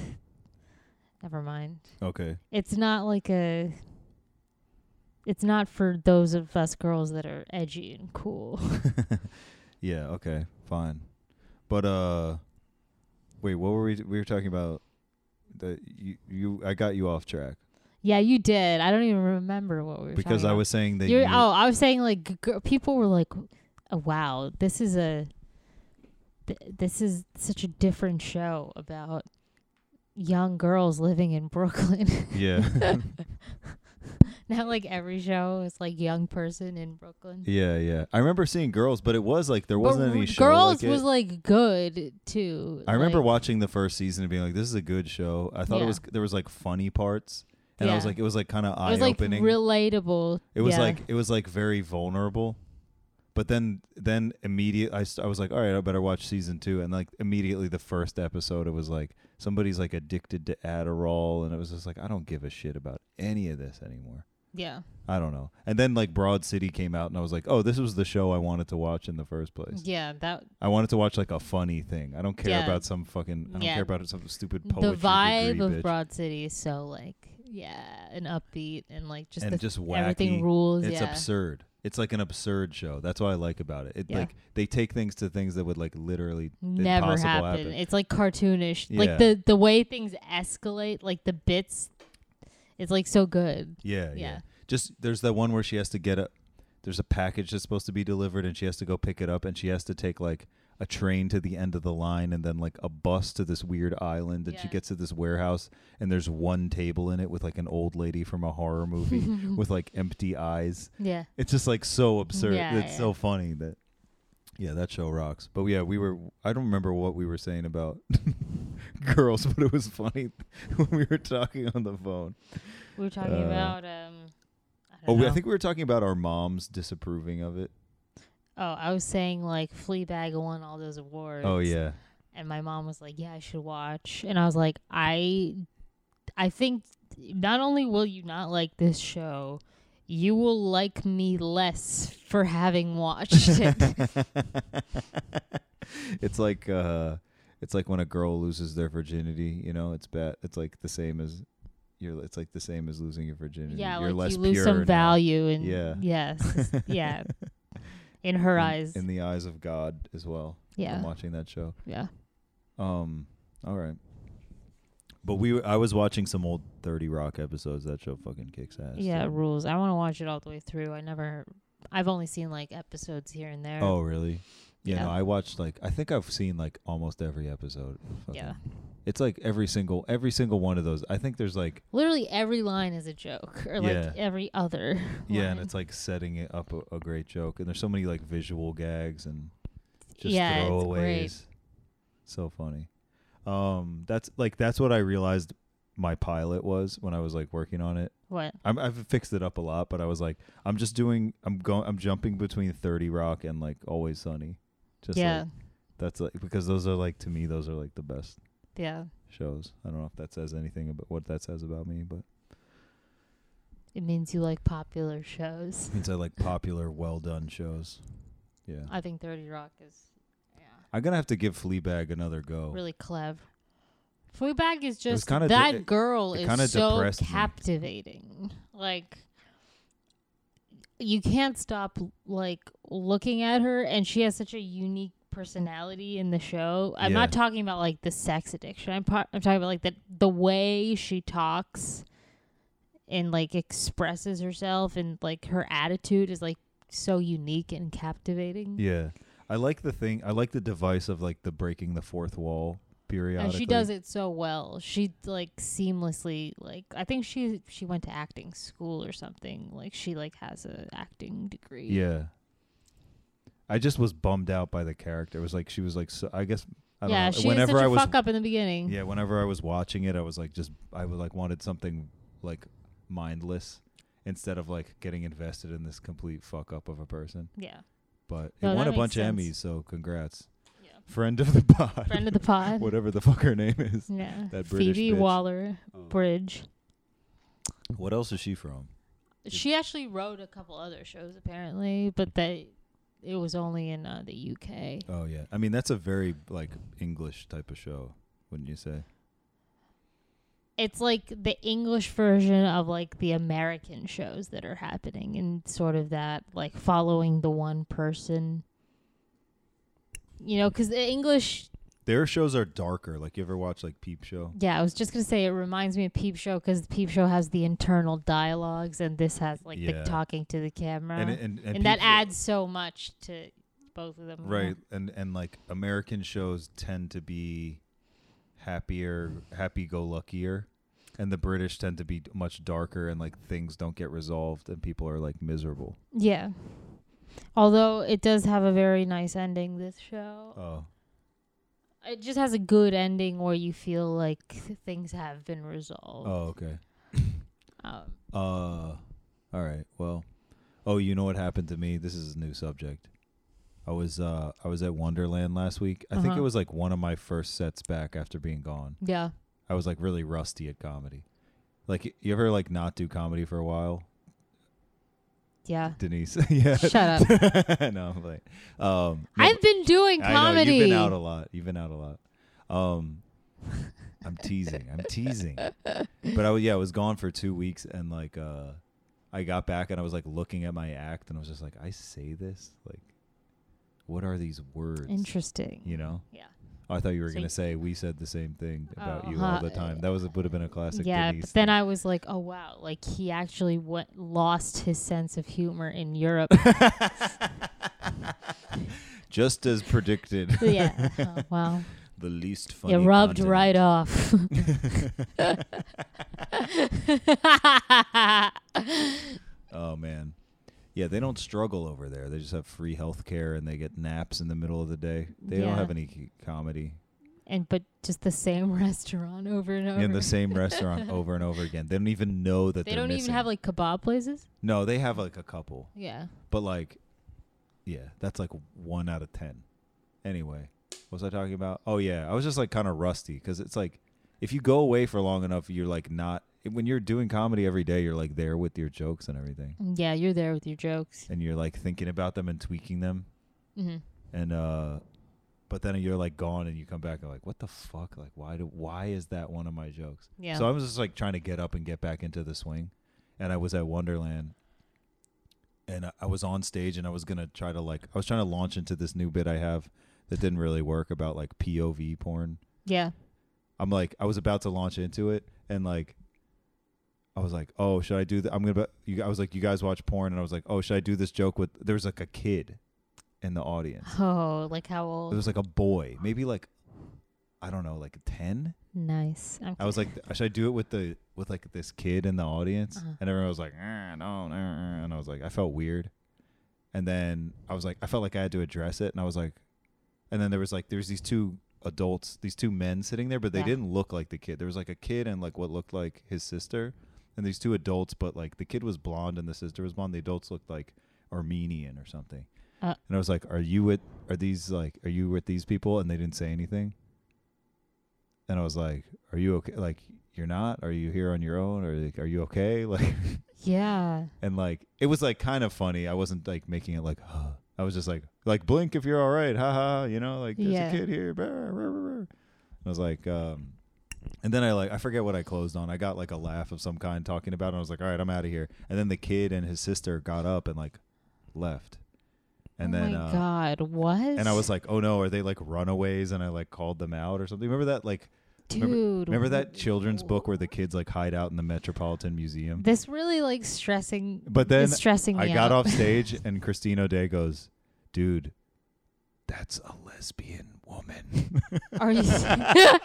Speaker 4: Never mind.
Speaker 3: Okay.
Speaker 4: It's not like a. It's not for those of us girls that are edgy and cool.
Speaker 3: Yeah, okay. Fine. But uh wait, what were we we were talking about the you, you I got you off track
Speaker 4: Yeah, you did. I don't even remember what we were
Speaker 3: because
Speaker 4: talking
Speaker 3: I
Speaker 4: about.
Speaker 3: was saying that
Speaker 4: You're,
Speaker 3: you-
Speaker 4: oh, I was saying like g- g- people were like, oh, "Wow, this is a th- this is such a different show about young girls living in Brooklyn."
Speaker 3: Yeah.
Speaker 4: now, like every show is like young person in Brooklyn.
Speaker 3: yeah, yeah. I remember seeing girls, but it was like there wasn't
Speaker 4: but
Speaker 3: any
Speaker 4: r-
Speaker 3: show like
Speaker 4: girls
Speaker 3: it.
Speaker 4: was like good too.
Speaker 3: I remember
Speaker 4: like,
Speaker 3: watching the first season and being like, "This is a good show." I thought
Speaker 4: Yeah.
Speaker 3: it was there was like funny parts, and I was
Speaker 4: Yeah.
Speaker 3: like, it was like kind of
Speaker 4: It
Speaker 3: eye
Speaker 4: was like
Speaker 3: opening.
Speaker 4: relatable.
Speaker 3: it was
Speaker 4: yeah.
Speaker 3: like it was like very vulnerable. But then then immediate I, st- I was like, "All right, I better watch season 2." And like immediately the first episode it was like somebody's like addicted to Adderall and it was just like, "I don't give a shit about any of this anymore."
Speaker 4: yeah.
Speaker 3: I don't know. And then like Broad City came out and I was like, "Oh, this was the show I wanted to watch in the first place."
Speaker 4: Yeah, that
Speaker 3: I wanted to watch like a funny thing. I don't care
Speaker 4: Yeah.
Speaker 3: about some fucking. I don't
Speaker 4: Yeah.
Speaker 3: care about some stupid poetry.
Speaker 4: the vibe
Speaker 3: degree,
Speaker 4: of
Speaker 3: bitch.
Speaker 4: Broad City is so like yeah, and upbeat and like just
Speaker 3: and
Speaker 4: the,
Speaker 3: just wacky.
Speaker 4: everything rules.
Speaker 3: It's
Speaker 4: yeah,
Speaker 3: absurd. It's like an absurd show. That's what I like about it. It
Speaker 4: Yeah.
Speaker 3: like they take things to things that would like literally
Speaker 4: never
Speaker 3: impossible
Speaker 4: happen.
Speaker 3: happen.
Speaker 4: It's like cartoonish.
Speaker 3: Yeah.
Speaker 4: Like the the way things escalate, like the bits, it's like so good.
Speaker 3: Yeah, yeah,
Speaker 4: Yeah.
Speaker 3: Just there's that one where she has to get a there's a package that's supposed to be delivered and she has to go pick it up and she has to take like a train to the end of the line and then like a bus to this weird island and she
Speaker 4: Yeah.
Speaker 3: gets to this warehouse and there's one table in it with like an old lady from a horror movie with like empty eyes.
Speaker 4: Yeah,
Speaker 3: It's just like so absurd.
Speaker 4: Yeah,
Speaker 3: it's
Speaker 4: yeah.
Speaker 3: so funny that yeah, that show rocks. But yeah, we were I don't remember what we were saying about girls, but it was funny when we were talking on the phone.
Speaker 4: we were talking
Speaker 3: Uh,
Speaker 4: about. um I
Speaker 3: Oh,
Speaker 4: don't
Speaker 3: we- I
Speaker 4: know.
Speaker 3: think we were talking about our moms disapproving of it.
Speaker 4: Oh, I was saying like Fleabag won all those awards.
Speaker 3: Oh yeah,
Speaker 4: and my mom was like, "Yeah, I should watch." And I was like, "I I think not only will you not like this show, you will like me less for having watched it.
Speaker 3: it's like uh it's like when a girl loses their virginity, you know, it's bad it's like the same as you're it's like the same as losing your virginity.
Speaker 4: yeah,
Speaker 3: you're
Speaker 4: like
Speaker 3: less
Speaker 4: you lose
Speaker 3: pure
Speaker 4: some
Speaker 3: now
Speaker 4: value and
Speaker 3: Yeah.
Speaker 4: yes, yeah, in her
Speaker 3: in-
Speaker 4: eyes.
Speaker 3: In the eyes of God as well.
Speaker 4: yeah,
Speaker 3: From watching that show.
Speaker 4: yeah.
Speaker 3: Um all right. But we were- I was watching some old 30 Rock episodes. That show fucking kicks ass.
Speaker 4: Yeah, it
Speaker 3: dude.
Speaker 4: rules. I want to watch it all the way through. I never, I've only seen like episodes here and there.
Speaker 3: Oh, really? Yeah,
Speaker 4: Yeah.
Speaker 3: no, I watched like I think I've seen like almost every episode. Fucking-
Speaker 4: yeah.
Speaker 3: It's like every single every single one of those. I think there's like
Speaker 4: Literally every line is a joke, or like
Speaker 3: Yeah.
Speaker 4: every other.
Speaker 3: yeah, and
Speaker 4: line.
Speaker 3: it's like setting it up a, a great joke and there's so many like visual gags and just
Speaker 4: Yeah, it's
Speaker 3: throwaways.
Speaker 4: great.
Speaker 3: So funny. Um that's like that's what I realized my pilot was when I was like working on it.
Speaker 4: what?
Speaker 3: I'm, I've fixed it up a lot, but I was like I'm just doing I'm going I'm jumping between 30 Rock and like Always Sunny. Just
Speaker 4: yeah,
Speaker 3: like that's like because those are like to me those are like the best
Speaker 4: yeah.
Speaker 3: shows. I don't know if that says anything about what that says about me, but
Speaker 4: It means you like popular shows.
Speaker 3: means I like popular, well done shows. Yeah,
Speaker 4: I think Thirty Rock is, yeah,
Speaker 3: I'm gonna have to give Fleabag another go.
Speaker 4: really clever. Fleabag is just
Speaker 3: kinda de-
Speaker 4: that
Speaker 3: it-
Speaker 4: girl
Speaker 3: it
Speaker 4: is
Speaker 3: kinda
Speaker 4: so
Speaker 3: depressed me.
Speaker 4: captivating. Like you can't stop like looking at her, and she has such a unique personality in the show. I'm not
Speaker 3: Yeah.
Speaker 4: talking about like the sex addiction. I'm par- I'm talking about like the the way she talks and like expresses herself, and like her attitude is like so unique and captivating.
Speaker 3: Yeah, I like the thing. I like the device of like the breaking the fourth wall periodically.
Speaker 4: And she does it so well. She like seamlessly like I think she she went to acting school or something. Like she like has a acting degree.
Speaker 3: Yeah. I just was bummed out by the character. It was like she was like so, I guess I don't
Speaker 4: yeah,
Speaker 3: know.
Speaker 4: she was
Speaker 3: whenever
Speaker 4: such a
Speaker 3: I was
Speaker 4: fuck up in the beginning.
Speaker 3: yeah, whenever I was watching it, I was like just I was like wanted something like mindless instead of like getting invested in this complete fuck up of a person.
Speaker 4: Yeah.
Speaker 3: But
Speaker 4: No,
Speaker 3: it won
Speaker 4: that
Speaker 3: a
Speaker 4: makes
Speaker 3: bunch
Speaker 4: sense.
Speaker 3: of Emmys, so congrats.
Speaker 4: Yeah.
Speaker 3: Friend of the pod.
Speaker 4: Friend of the pod.
Speaker 3: Whatever the fuck her name is.
Speaker 4: yeah.
Speaker 3: that British
Speaker 4: Phoebe
Speaker 3: bitch.
Speaker 4: Waller Bridge.
Speaker 3: What else is she from?
Speaker 4: She actually wrote a couple other shows apparently, but they it was only in uh, the UK.
Speaker 3: Oh yeah. I mean that's a very like English type of show, wouldn't you say?
Speaker 4: It's like the English version of like the American shows that are happening and sort of that like following the one person. You know, because the English,
Speaker 3: Their shows are darker. Like you ever watch like Peep Show?
Speaker 4: yeah, I was just gonna say it reminds me of Peep Show because Peep Show has the internal dialogues and this has like
Speaker 3: Yeah.
Speaker 4: the talking to the camera,
Speaker 3: And
Speaker 4: and,
Speaker 3: and and,
Speaker 4: that
Speaker 3: Peep Show-
Speaker 4: adds so much to both of them.
Speaker 3: right and and like American shows tend to be happier, happy go luckier, and the British tend to be much darker and like things don't get resolved and people are like miserable.
Speaker 4: Yeah. Although it does have a very nice ending, this show.
Speaker 3: Oh,
Speaker 4: It just has a good ending where you feel like th- things have been resolved.
Speaker 3: oh, okay.
Speaker 4: Um,
Speaker 3: Uh, all right. Well, oh, you know what happened to me? This is a new subject. I was uh I was at Wonderland last week. I think
Speaker 4: Uh-huh.
Speaker 3: it was like one of my first sets back after being gone.
Speaker 4: yeah.
Speaker 3: I was like really rusty at comedy. Like y- you ever like not do comedy for a while,
Speaker 4: Yeah.
Speaker 3: Denise? yeah.
Speaker 4: Shut up.
Speaker 3: no, I'm like, um, no,
Speaker 4: I've been doing
Speaker 3: I know,
Speaker 4: comedy.
Speaker 3: you've been out a lot. You've been out a lot. Um, I'm teasing. I'm teasing. But I was yeah, I was gone for two weeks, and like uh, I got back, and I was like looking at my act, and I was just like, I say this like, what are these words?
Speaker 4: Interesting.
Speaker 3: You know?
Speaker 4: Yeah.
Speaker 3: Oh, I thought you were
Speaker 4: So
Speaker 3: gonna
Speaker 4: you-
Speaker 3: say we said the same thing about
Speaker 4: Oh,
Speaker 3: you
Speaker 4: huh.
Speaker 3: all the time. That was would have been a classic.
Speaker 4: yeah,
Speaker 3: Denise
Speaker 4: but then
Speaker 3: thing.
Speaker 4: I was like, oh wow, like he actually went, lost his sense of humor in Europe.
Speaker 3: Just as predicted,
Speaker 4: yeah. Oh, wow.
Speaker 3: the least funny.
Speaker 4: You rubbed
Speaker 3: continent.
Speaker 4: right off.
Speaker 3: Oh man, yeah, they don't struggle over there. They just have free health care and they get naps in the middle of the day. They don't
Speaker 4: Yeah.
Speaker 3: have any c- comedy
Speaker 4: and but just the same restaurant over and over.
Speaker 3: in the same restaurant over and over again. They don't even know that
Speaker 4: they
Speaker 3: are
Speaker 4: don't
Speaker 3: missing.
Speaker 4: even have like kebab places.
Speaker 3: no, they have like a couple,
Speaker 4: Yeah.
Speaker 3: but like, yeah, that's like one out of ten. Anyway, what was I talking about? Oh yeah, I was just like kind of rusty because it's like if you go away for long enough, you're like not when you're doing comedy every day, you're like there with your jokes and everything,
Speaker 4: Yeah, you're there with your jokes.
Speaker 3: and you're like thinking about them and tweaking them,
Speaker 4: Mm-hmm.
Speaker 3: and uh, but then you're like gone and you come back and like, what the fuck? Like, why do why is that one of my jokes?
Speaker 4: Yeah.
Speaker 3: So I was just like trying to get up and get back into the swing, and I was at Wonderland, and I- I was on stage and I was gonna try to like I was trying to launch into this new bit I have that didn't really work about like POV porn.
Speaker 4: yeah.
Speaker 3: I'm like I was about to launch into it and like I was like, "Oh, should I do that? I'm going to you I was like, "You guys watch porn." And I was like, "Oh, should I do this joke with there was like a kid in the audience.
Speaker 4: Oh, like how
Speaker 3: There
Speaker 4: old?
Speaker 3: was like a boy, maybe like I don't know, like 10.
Speaker 4: nice. I'm
Speaker 3: I was like, "Should I do it with the with like this kid in the audience?"
Speaker 4: Uh-huh.
Speaker 3: And everyone was like, "Eh, "No, no." eh," And I was like, I felt weird. And then I was like, I felt like I had to address it, and I was like, and then there was like, there's these two adults, these two men sitting there, but they
Speaker 4: Yeah.
Speaker 3: didn't look like the kid. There was like a kid and like what looked like his sister, and these two adults, but like the kid was blonde and the sister was blonde. The adults looked like Armenian or something.
Speaker 4: Uh.
Speaker 3: and I was like, "Are you with? Are these like? Are you with these people?" And they didn't say anything. And I was like, "Are you okay? Like, you're not? Are you here on your own? Or like, are you okay? Like,
Speaker 4: yeah.
Speaker 3: and like, it was like kind of funny. I wasn't like making it like, huh. I was just like, like blink if you're all right, ha ha. You know, like there's
Speaker 4: Yeah.
Speaker 3: a kid here. brr, brr, brr, brr." And I was like, um, and then I like I forget what I closed on. I got like a laugh of some kind talking about. it. And I was like, all right, I'm out of here. And then the kid and his sister got up and like left. And
Speaker 4: oh
Speaker 3: then
Speaker 4: my
Speaker 3: uh,
Speaker 4: God, what?
Speaker 3: and I was like, oh no, are they like runaways? And I like called them out or something. Remember that like
Speaker 4: dude.
Speaker 3: remember that
Speaker 4: wh-
Speaker 3: children's book where the kids like hide out in the Metropolitan Museum?
Speaker 4: This really like stressing.
Speaker 3: But then
Speaker 4: is stressing
Speaker 3: I
Speaker 4: me
Speaker 3: got
Speaker 4: out.
Speaker 3: off stage and Christine O'Day goes, dude, that's a lesbian woman.
Speaker 4: Are you?
Speaker 3: it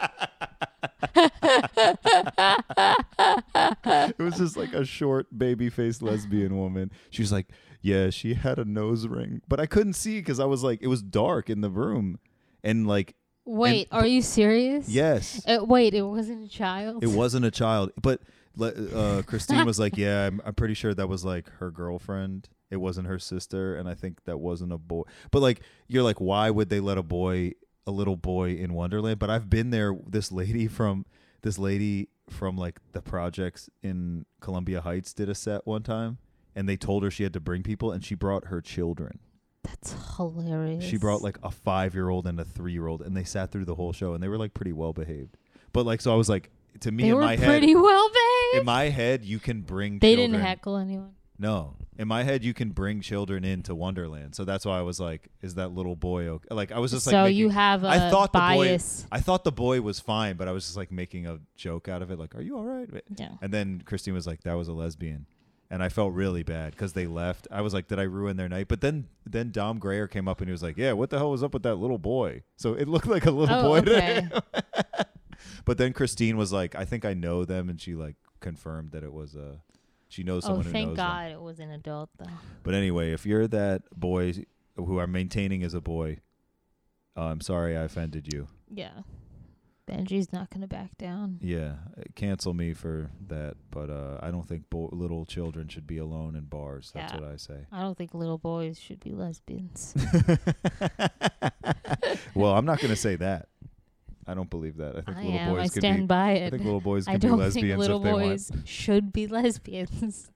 Speaker 3: was just like a short baby faced lesbian woman. She was like, yeah, she had a nose ring, but I couldn't see because I was like, it was dark in the room. And like,
Speaker 4: wait, are you serious?
Speaker 3: yes.
Speaker 4: Uh, wait, it wasn't a child.
Speaker 3: It wasn't a child, but le- uh, Christine was like, "Yeah, I'm, I'm pretty sure that was like her girlfriend. It wasn't her sister, and I think that wasn't a boy." But like, you're like, why would they let a boy, a little boy, in Wonderland? But I've been there. This lady from this lady from like the projects in Columbia Heights did a set one time, and they told her she had to bring people, and she brought her children.
Speaker 4: That's hilarious.
Speaker 3: She brought like a five year old and a three year old, and they sat through the whole show, and they were like pretty well behaved. But like, so I was like, to me
Speaker 4: They
Speaker 3: in
Speaker 4: were
Speaker 3: my head,
Speaker 4: pretty well behaved.
Speaker 3: in my head, you can bring
Speaker 4: they
Speaker 3: children.
Speaker 4: didn't heckle anyone.
Speaker 3: No, in my head, you can bring children into Wonderland. So that's why I was like, "Is that little boy okay?" Like I was just like,
Speaker 4: so
Speaker 3: making,
Speaker 4: you have a
Speaker 3: I thought
Speaker 4: bias.
Speaker 3: the boy, I thought the boy was fine, but I was just like making a joke out of it. Like, "Are you all right?"
Speaker 4: Yeah.
Speaker 3: And then Christine was like, "That was a lesbian," and I felt really bad because they left. I was like, "Did I ruin their night?" But then then Dom Grayer came up and he was like, "Yeah, what the hell was up with that little boy?" So it looked like a little
Speaker 4: Oh,
Speaker 3: boy. to
Speaker 4: okay.
Speaker 3: him. But then Christine was like, "I think I know them," and she like confirmed that it was a. She knows
Speaker 4: Oh,
Speaker 3: someone who
Speaker 4: thank
Speaker 3: knows them.
Speaker 4: God it was an adult though.
Speaker 3: But anyway, if you're that boy who I'm maintaining as a boy, uh, I'm sorry I offended you.
Speaker 4: Yeah. Benji's not gonna back down.
Speaker 3: Yeah, cancel me for that. But uh, I don't think bo- little children should be alone in bars. That's
Speaker 4: Yeah.
Speaker 3: what I say.
Speaker 4: I don't think little boys should be lesbians.
Speaker 3: well, I'm not going to say that. I don't believe that. I think
Speaker 4: I
Speaker 3: little
Speaker 4: am.
Speaker 3: boys
Speaker 4: I
Speaker 3: could
Speaker 4: stand
Speaker 3: be.
Speaker 4: by
Speaker 3: I
Speaker 4: it.
Speaker 3: think little boys
Speaker 4: I
Speaker 3: can be
Speaker 4: don't think
Speaker 3: lesbians
Speaker 4: little
Speaker 3: if they
Speaker 4: boys should be lesbians.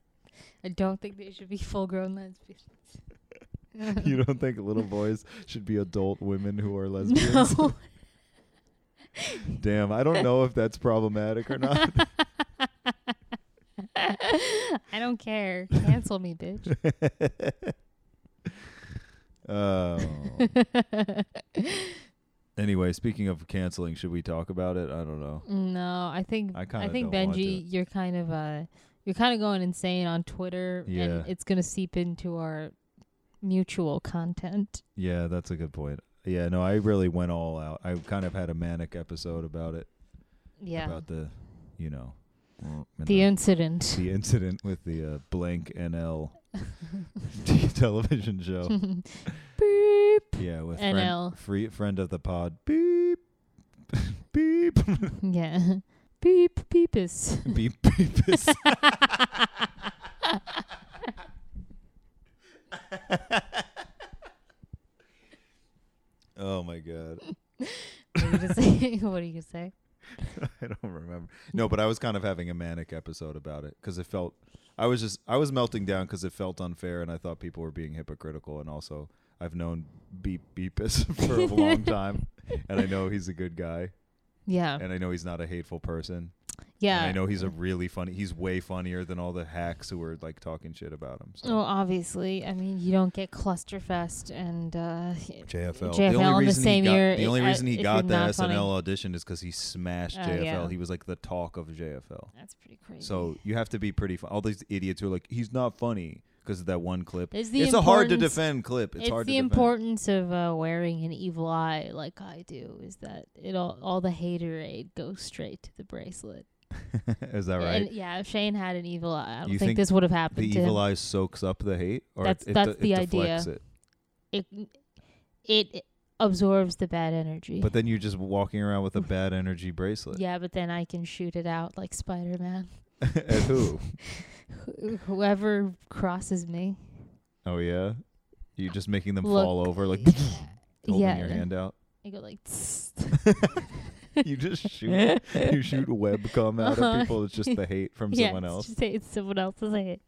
Speaker 4: I don't think they should be full grown lesbians.
Speaker 3: want. You don't think little boys should be adult women who are lesbians?
Speaker 4: no.
Speaker 3: Damn, I don't know if that's problematic or not.
Speaker 4: I don't care. Cancel me, bitch.
Speaker 3: Oh. anyway, speaking of canceling, should we talk about it? I don't know.
Speaker 4: No, I think
Speaker 3: I
Speaker 4: I,
Speaker 3: kinda
Speaker 4: think
Speaker 3: don't want to.
Speaker 4: Benji, you're kind of uh you're kind of going insane on Twitter
Speaker 3: Yeah.
Speaker 4: and it's going to seep into our mutual content.
Speaker 3: Yeah, that's a good point. Yeah, no, I really went all out. I kind of had a manic episode about it.
Speaker 4: Yeah.
Speaker 3: About the, you know, and
Speaker 4: the incident.
Speaker 3: the incident with the uh, blank NL television show.
Speaker 4: Beep.
Speaker 3: Yeah, with
Speaker 4: NL.
Speaker 3: Friend, free, friend of the pod. Beep. Beep.
Speaker 4: Yeah. Beep beepus.
Speaker 3: Beep. Beep. oh my god. Oh
Speaker 4: what are you gonna say? What are you gonna say?
Speaker 3: I don't remember. No, but I was kind of having a manic episode about it because it felt I was just I was melting down because it felt unfair, and I thought people were being hypocritical, and also I've known Beep Beepus for a long time, and I know he's a good guy,
Speaker 4: Yeah.
Speaker 3: and I know he's not a hateful person.
Speaker 4: yeah.
Speaker 3: and I know he's a really funny. He's way funnier than all the hacks who were like talking shit about him. So.
Speaker 4: Well, Oh, obviously, I mean, you don't get Clusterfest and uh,
Speaker 3: JFL.
Speaker 4: JFL
Speaker 3: the
Speaker 4: in the
Speaker 3: only reason
Speaker 4: same
Speaker 3: he got,
Speaker 4: year,
Speaker 3: the only
Speaker 4: uh,
Speaker 3: reason he
Speaker 4: if
Speaker 3: got
Speaker 4: you're
Speaker 3: the
Speaker 4: not
Speaker 3: SNL
Speaker 4: funny.
Speaker 3: audition is because he smashed
Speaker 4: Oh,
Speaker 3: JFL.
Speaker 4: yeah.
Speaker 3: He was like the talk of JFL.
Speaker 4: that's pretty crazy.
Speaker 3: So you have to be pretty. Fu- all these idiots who are like, he's not funny because of that one clip.
Speaker 4: It's the
Speaker 3: a hard to
Speaker 4: importance-
Speaker 3: defend clip. It's,
Speaker 4: it's,
Speaker 3: hard
Speaker 4: the
Speaker 3: to defend.
Speaker 4: importance of uh, wearing an evil eye, like I do, is that it all all the haterade goes straight to the bracelet.
Speaker 3: is that right?
Speaker 4: And yeah, if Shane had an evil eye, I don't
Speaker 3: You
Speaker 4: think,
Speaker 3: think
Speaker 4: this would have happened
Speaker 3: the
Speaker 4: to
Speaker 3: evil
Speaker 4: him.
Speaker 3: eye soaks up the hate, or
Speaker 4: That's-
Speaker 3: it, it,
Speaker 4: that's
Speaker 3: de-
Speaker 4: the
Speaker 3: it
Speaker 4: idea.
Speaker 3: deflects it.
Speaker 4: It, it absorbs the bad energy.
Speaker 3: But then you're just walking around with a bad energy bracelet.
Speaker 4: yeah, but then I can shoot it out like Spider Man.
Speaker 3: At who?
Speaker 4: Whoever crosses me,
Speaker 3: Oh yeah, you're just making them
Speaker 4: Look,
Speaker 3: fall over, like holding
Speaker 4: yeah,
Speaker 3: your hand out.
Speaker 4: I go like.
Speaker 3: you just shoot, you shoot webcam out
Speaker 4: Uh-huh.
Speaker 3: of people. It's just the hate from
Speaker 4: yeah,
Speaker 3: someone
Speaker 4: it's
Speaker 3: else.
Speaker 4: just- it's someone else's hate.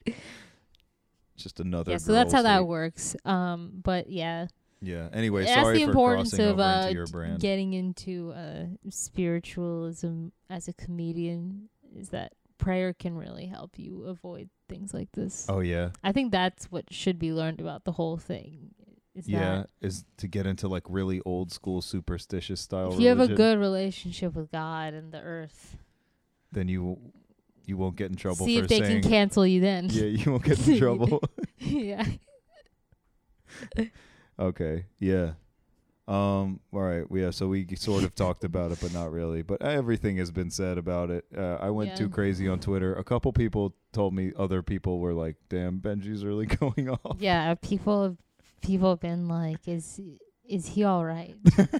Speaker 3: Just another.
Speaker 4: yeah, so that's how
Speaker 3: girl's
Speaker 4: that
Speaker 3: hate.
Speaker 4: works. Um, but yeah,
Speaker 3: Yeah. Anyway,
Speaker 4: that's
Speaker 3: sorry
Speaker 4: the
Speaker 3: for
Speaker 4: importance
Speaker 3: crossing
Speaker 4: of
Speaker 3: over
Speaker 4: uh,
Speaker 3: into your
Speaker 4: d-
Speaker 3: brand.
Speaker 4: getting into uh, spiritualism as a comedian. Is that prayer can really help you avoid things like this?
Speaker 3: oh yeah,
Speaker 4: I think that's what should be learned about the whole thing. Is
Speaker 3: yeah.
Speaker 4: that
Speaker 3: Is to get into like really old school superstitious style.
Speaker 4: if you have a
Speaker 3: religion,
Speaker 4: good relationship with God and the earth,
Speaker 3: then you you won't get in trouble
Speaker 4: see
Speaker 3: for
Speaker 4: if they
Speaker 3: saying.
Speaker 4: can cancel you then.
Speaker 3: yeah, you won't get in trouble.
Speaker 4: yeah.
Speaker 3: Okay. Yeah. Um. All right. Yeah. So we g- sort of talked about it, but not really. But everything has been said about it. Uh, I went
Speaker 4: Yeah.
Speaker 3: too crazy on Twitter. A couple people told me other people were like, "Damn, Benji's really going off."
Speaker 4: Yeah, people have people have been like, "Is is he all right?"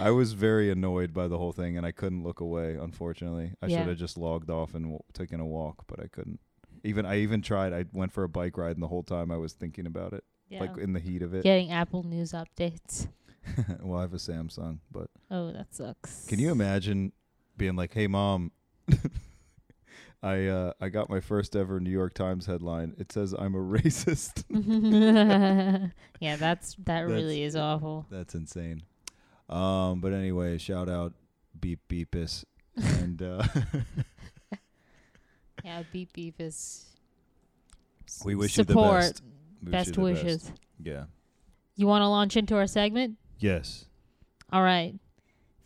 Speaker 3: I was very annoyed by the whole thing, and I couldn't look away. Unfortunately, I
Speaker 4: Yeah.
Speaker 3: should have just logged off and w- taken a walk, but I couldn't. Even I even tried. I went for a bike ride, and the whole time I was thinking about it,
Speaker 4: Yeah.
Speaker 3: like uh, in the heat of it.
Speaker 4: Getting Apple News updates.
Speaker 3: well, I have a Samsung, but
Speaker 4: Oh, that sucks.
Speaker 3: Can you imagine being like, "Hey, mom, I uh, I got my first ever New York Times headline. It says I'm a racist.
Speaker 4: imagine? yeah, that's that really is awful.
Speaker 3: That's insane." Um, but anyway, shout out Beep Beepus and uh,
Speaker 4: Yeah, beep beep is. s-
Speaker 3: we wish you
Speaker 4: support,
Speaker 3: the best. We wish
Speaker 4: best
Speaker 3: you the
Speaker 4: wishes.
Speaker 3: Yeah.
Speaker 4: You want to launch into our segment?
Speaker 3: Yes.
Speaker 4: All right.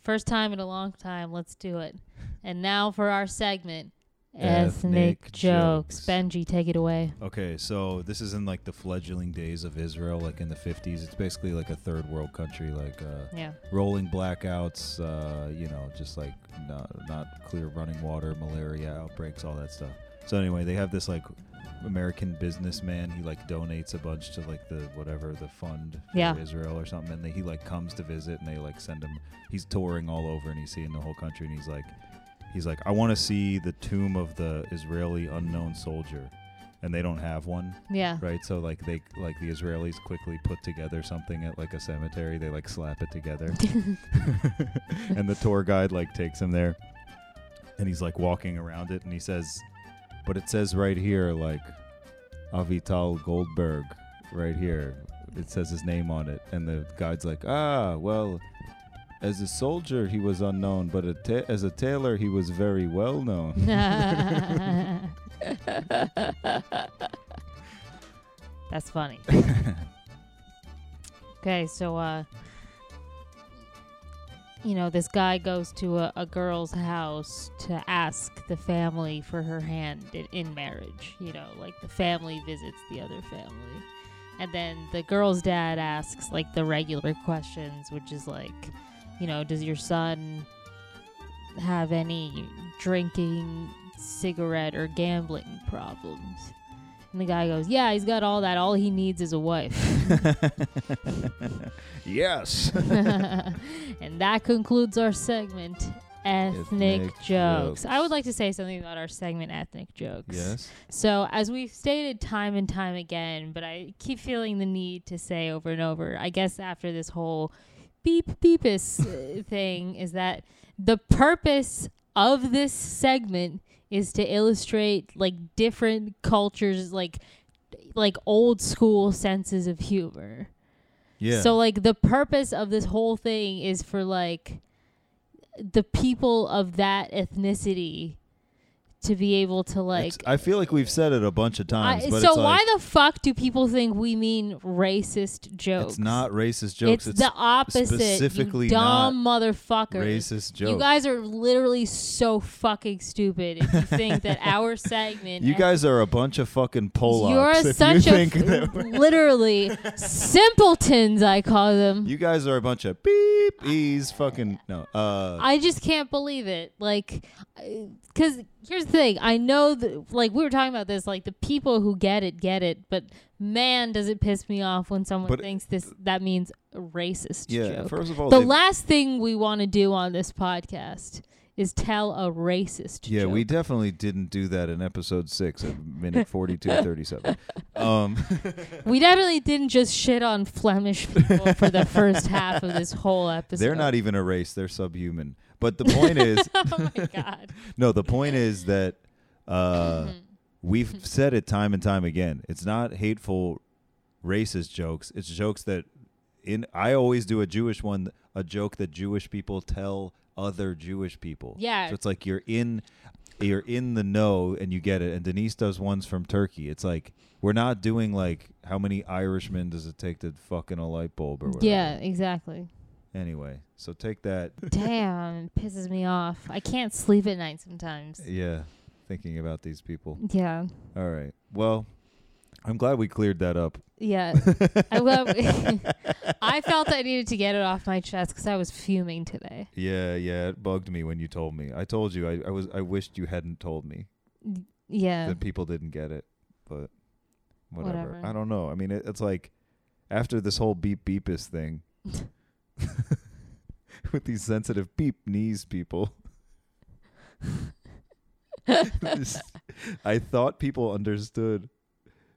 Speaker 4: First time in a long time. Let's do it. And now for our segment, ethnic,
Speaker 3: Ethnic
Speaker 4: jokes.
Speaker 3: jokes.
Speaker 4: Benji, take it away.
Speaker 3: Okay, so this is in like the fledgling days of Israel, like in the 50s. It's basically like a third world country, like uh,
Speaker 4: Yeah.
Speaker 3: rolling blackouts, uh, you know, just like not, not clear running water, malaria outbreaks, all that stuff. So anyway, they have this like American businessman. He like donates a bunch to like the whatever the fund for
Speaker 4: Yeah.
Speaker 3: Israel or something, and they, he like comes to visit, and they like send him. He's touring all over, and he's seeing the whole country, and he's like, he's like, I want to see the tomb of the Israeli unknown soldier, and they don't have one
Speaker 4: Yeah.
Speaker 3: right so like they like the israelis quickly put together something at like a cemetery they like slap it together and the tour guide like takes him there and he's like walking around it and he says but it says right here like avital goldberg right here it says his name on it and the guide's like ah well as a soldier he was unknown but a ta- as a tailor he was very well known
Speaker 4: That's funny. okay, so uh you know, this guy goes to a, a girl's house to ask the family for her hand in, in marriage. You know, like the family visits the other family. And then the girl's dad asks like the regular questions, which is like, you know, does your son have any drinking, cigarette, or gambling problems? And the guy goes, Yeah, he's got all that. All he needs is a wife.
Speaker 3: yes
Speaker 4: and that concludes our segment, Ethnic,
Speaker 3: Ethnic
Speaker 4: jokes.
Speaker 3: Jokes.
Speaker 4: I would like to say something about our segment, Ethnic Jokes.
Speaker 3: yes
Speaker 4: So, as we've stated time and time again, but I keep feeling the need to say over and over, I guess after this whole beep beepus uh, thing is that the purpose of this segment is to illustrate like different cultures like like old school senses of humor.
Speaker 3: Yeah.
Speaker 4: So like the purpose of this whole thing is for like the people of that ethnicity to be able to like
Speaker 3: It's- I feel like we've said it a bunch of
Speaker 4: I-
Speaker 3: times, but
Speaker 4: so
Speaker 3: it's
Speaker 4: why
Speaker 3: like,
Speaker 4: the fuck do people think we mean racist jokes?
Speaker 3: it's not racist
Speaker 4: It's,
Speaker 3: jokes. It's,
Speaker 4: the opposite.
Speaker 3: specifically
Speaker 4: you dumb motherfuckers.
Speaker 3: racist
Speaker 4: You
Speaker 3: jokes.
Speaker 4: guys are literally so fucking stupid if you think that our segment.
Speaker 3: You guys are a bunch of fucking Polacks.
Speaker 4: you're
Speaker 3: if
Speaker 4: such
Speaker 3: you
Speaker 4: a
Speaker 3: think
Speaker 4: f-
Speaker 3: that we're-
Speaker 4: literally simpletons. I call them.
Speaker 3: you guys are a bunch of beep e's fucking no. Uh,
Speaker 4: I just can't believe it. Like, because here's the thing. I know that, like, we were talking about this. Like, the people who get it get it, but man, does it piss me off when someone
Speaker 3: But-
Speaker 4: thinks this that means a racist
Speaker 3: yeah.
Speaker 4: joke.
Speaker 3: First of all,
Speaker 4: the
Speaker 3: they-
Speaker 4: last thing we want to do on this podcast is tell a racist
Speaker 3: yeah,
Speaker 4: joke.
Speaker 3: we definitely didn't do that in episode six at minute forty-two thirty-seven. Um,
Speaker 4: we definitely didn't just shit on Flemish people for the first half of this whole episode.
Speaker 3: they're not even a race; they're subhuman. But the point is,
Speaker 4: oh my god.
Speaker 3: No, the point is that uh,
Speaker 4: Mm-hmm.
Speaker 3: we've said it time and time again. It's not hateful, racist jokes. It's jokes that in I always do a Jewish one, a joke that Jewish people tell other Jewish people.
Speaker 4: Yeah.
Speaker 3: So it's like you're in, you're in the know, and you get it. And Denise does ones from Turkey. It's like we're not doing like how many Irishmen does it take to fucking a light bulb or whatever.
Speaker 4: Yeah, exactly.
Speaker 3: Anyway, so take that.
Speaker 4: Damn, it pisses me off. I can't sleep at night sometimes.
Speaker 3: Yeah. Thinking about these people.
Speaker 4: Yeah.
Speaker 3: All right. Well, I'm glad we cleared that up.
Speaker 4: Yeah. I love I felt I needed to get it off my chest cuz I was fuming today.
Speaker 3: Yeah, yeah. It bugged me when you told me. I told you. I, I was. I wished you hadn't told me
Speaker 4: Yeah.
Speaker 3: that people didn't get it, but whatever.
Speaker 4: Whatever.
Speaker 3: I don't know. I mean, it, it's like after this whole beep beepus thing with these sensitive beep knees people. this- I thought people understood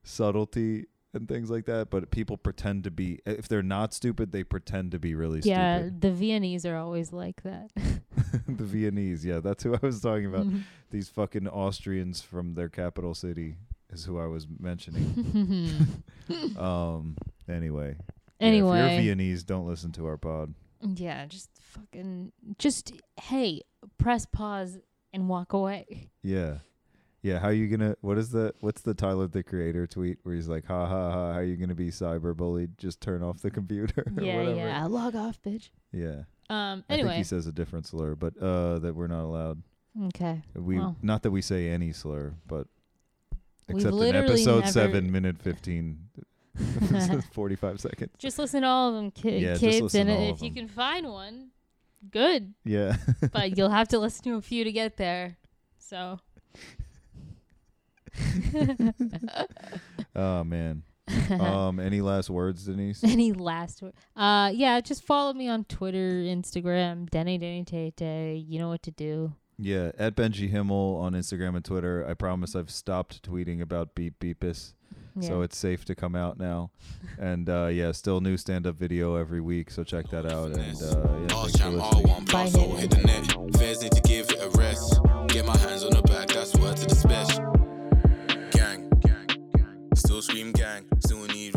Speaker 3: subtlety and things like that, but people pretend to be. If they're not stupid, they pretend to be really
Speaker 4: Yeah,
Speaker 3: stupid.
Speaker 4: the Viennese are always like that.
Speaker 3: the Viennese, yeah, that's who I was talking about.
Speaker 4: Mhm.
Speaker 3: These fucking Austrians from their capital city is who I was mentioning. um. Anyway. yeah,
Speaker 4: anyway.
Speaker 3: if you're Viennese, don't listen to our pod.
Speaker 4: Yeah, just fucking just hey, press pause and walk away.
Speaker 3: Yeah. Yeah. How you gonna? What is the? What's the Tyler the Creator tweet where he's like, "Ha ha ha! How you gonna be cyberbullied? Just turn off the computer." or
Speaker 4: yeah,
Speaker 3: whatever.
Speaker 4: yeah. Log off, bitch.
Speaker 3: Yeah.
Speaker 4: Um
Speaker 3: I think
Speaker 4: anyway.
Speaker 3: he says a different slur, but uh, that we're not allowed.
Speaker 4: Okay.
Speaker 3: We
Speaker 4: Well.
Speaker 3: not that we say any slur, but
Speaker 4: We've
Speaker 3: except in
Speaker 4: literally
Speaker 3: episode
Speaker 4: never-
Speaker 3: seven, minute fifteen, forty-five seconds.
Speaker 4: Just listen to all of them, ki-
Speaker 3: Yeah, just
Speaker 4: kids,
Speaker 3: listen
Speaker 4: and
Speaker 3: to all
Speaker 4: if
Speaker 3: of
Speaker 4: you
Speaker 3: them.
Speaker 4: can find one, good.
Speaker 3: Yeah.
Speaker 4: But you'll have to listen to a few to get there. So
Speaker 3: oh man.
Speaker 4: Uh-huh.
Speaker 3: Um. Any last words, Denise?
Speaker 4: any last word? Uh, yeah, just follow me on Twitter, Instagram, Denny Denny Tay Tay. You know what to do.
Speaker 3: Yeah, at Benji Himmel on Instagram and Twitter. I promise I've stopped tweeting about beep beepus,
Speaker 4: Yeah.
Speaker 3: so it's safe to come out now. and uh, yeah, still new stand up video every week, so check that out. And uh, yeah,
Speaker 2: All
Speaker 3: thanks for
Speaker 2: champ, all
Speaker 3: listening.
Speaker 2: one block,
Speaker 4: Bye,
Speaker 2: so
Speaker 4: Hayden.
Speaker 2: hit the net. Feds need to give it a rest. Get my hands on the back, that's word to the special. Gang, gang, gang. Still scream gang, still need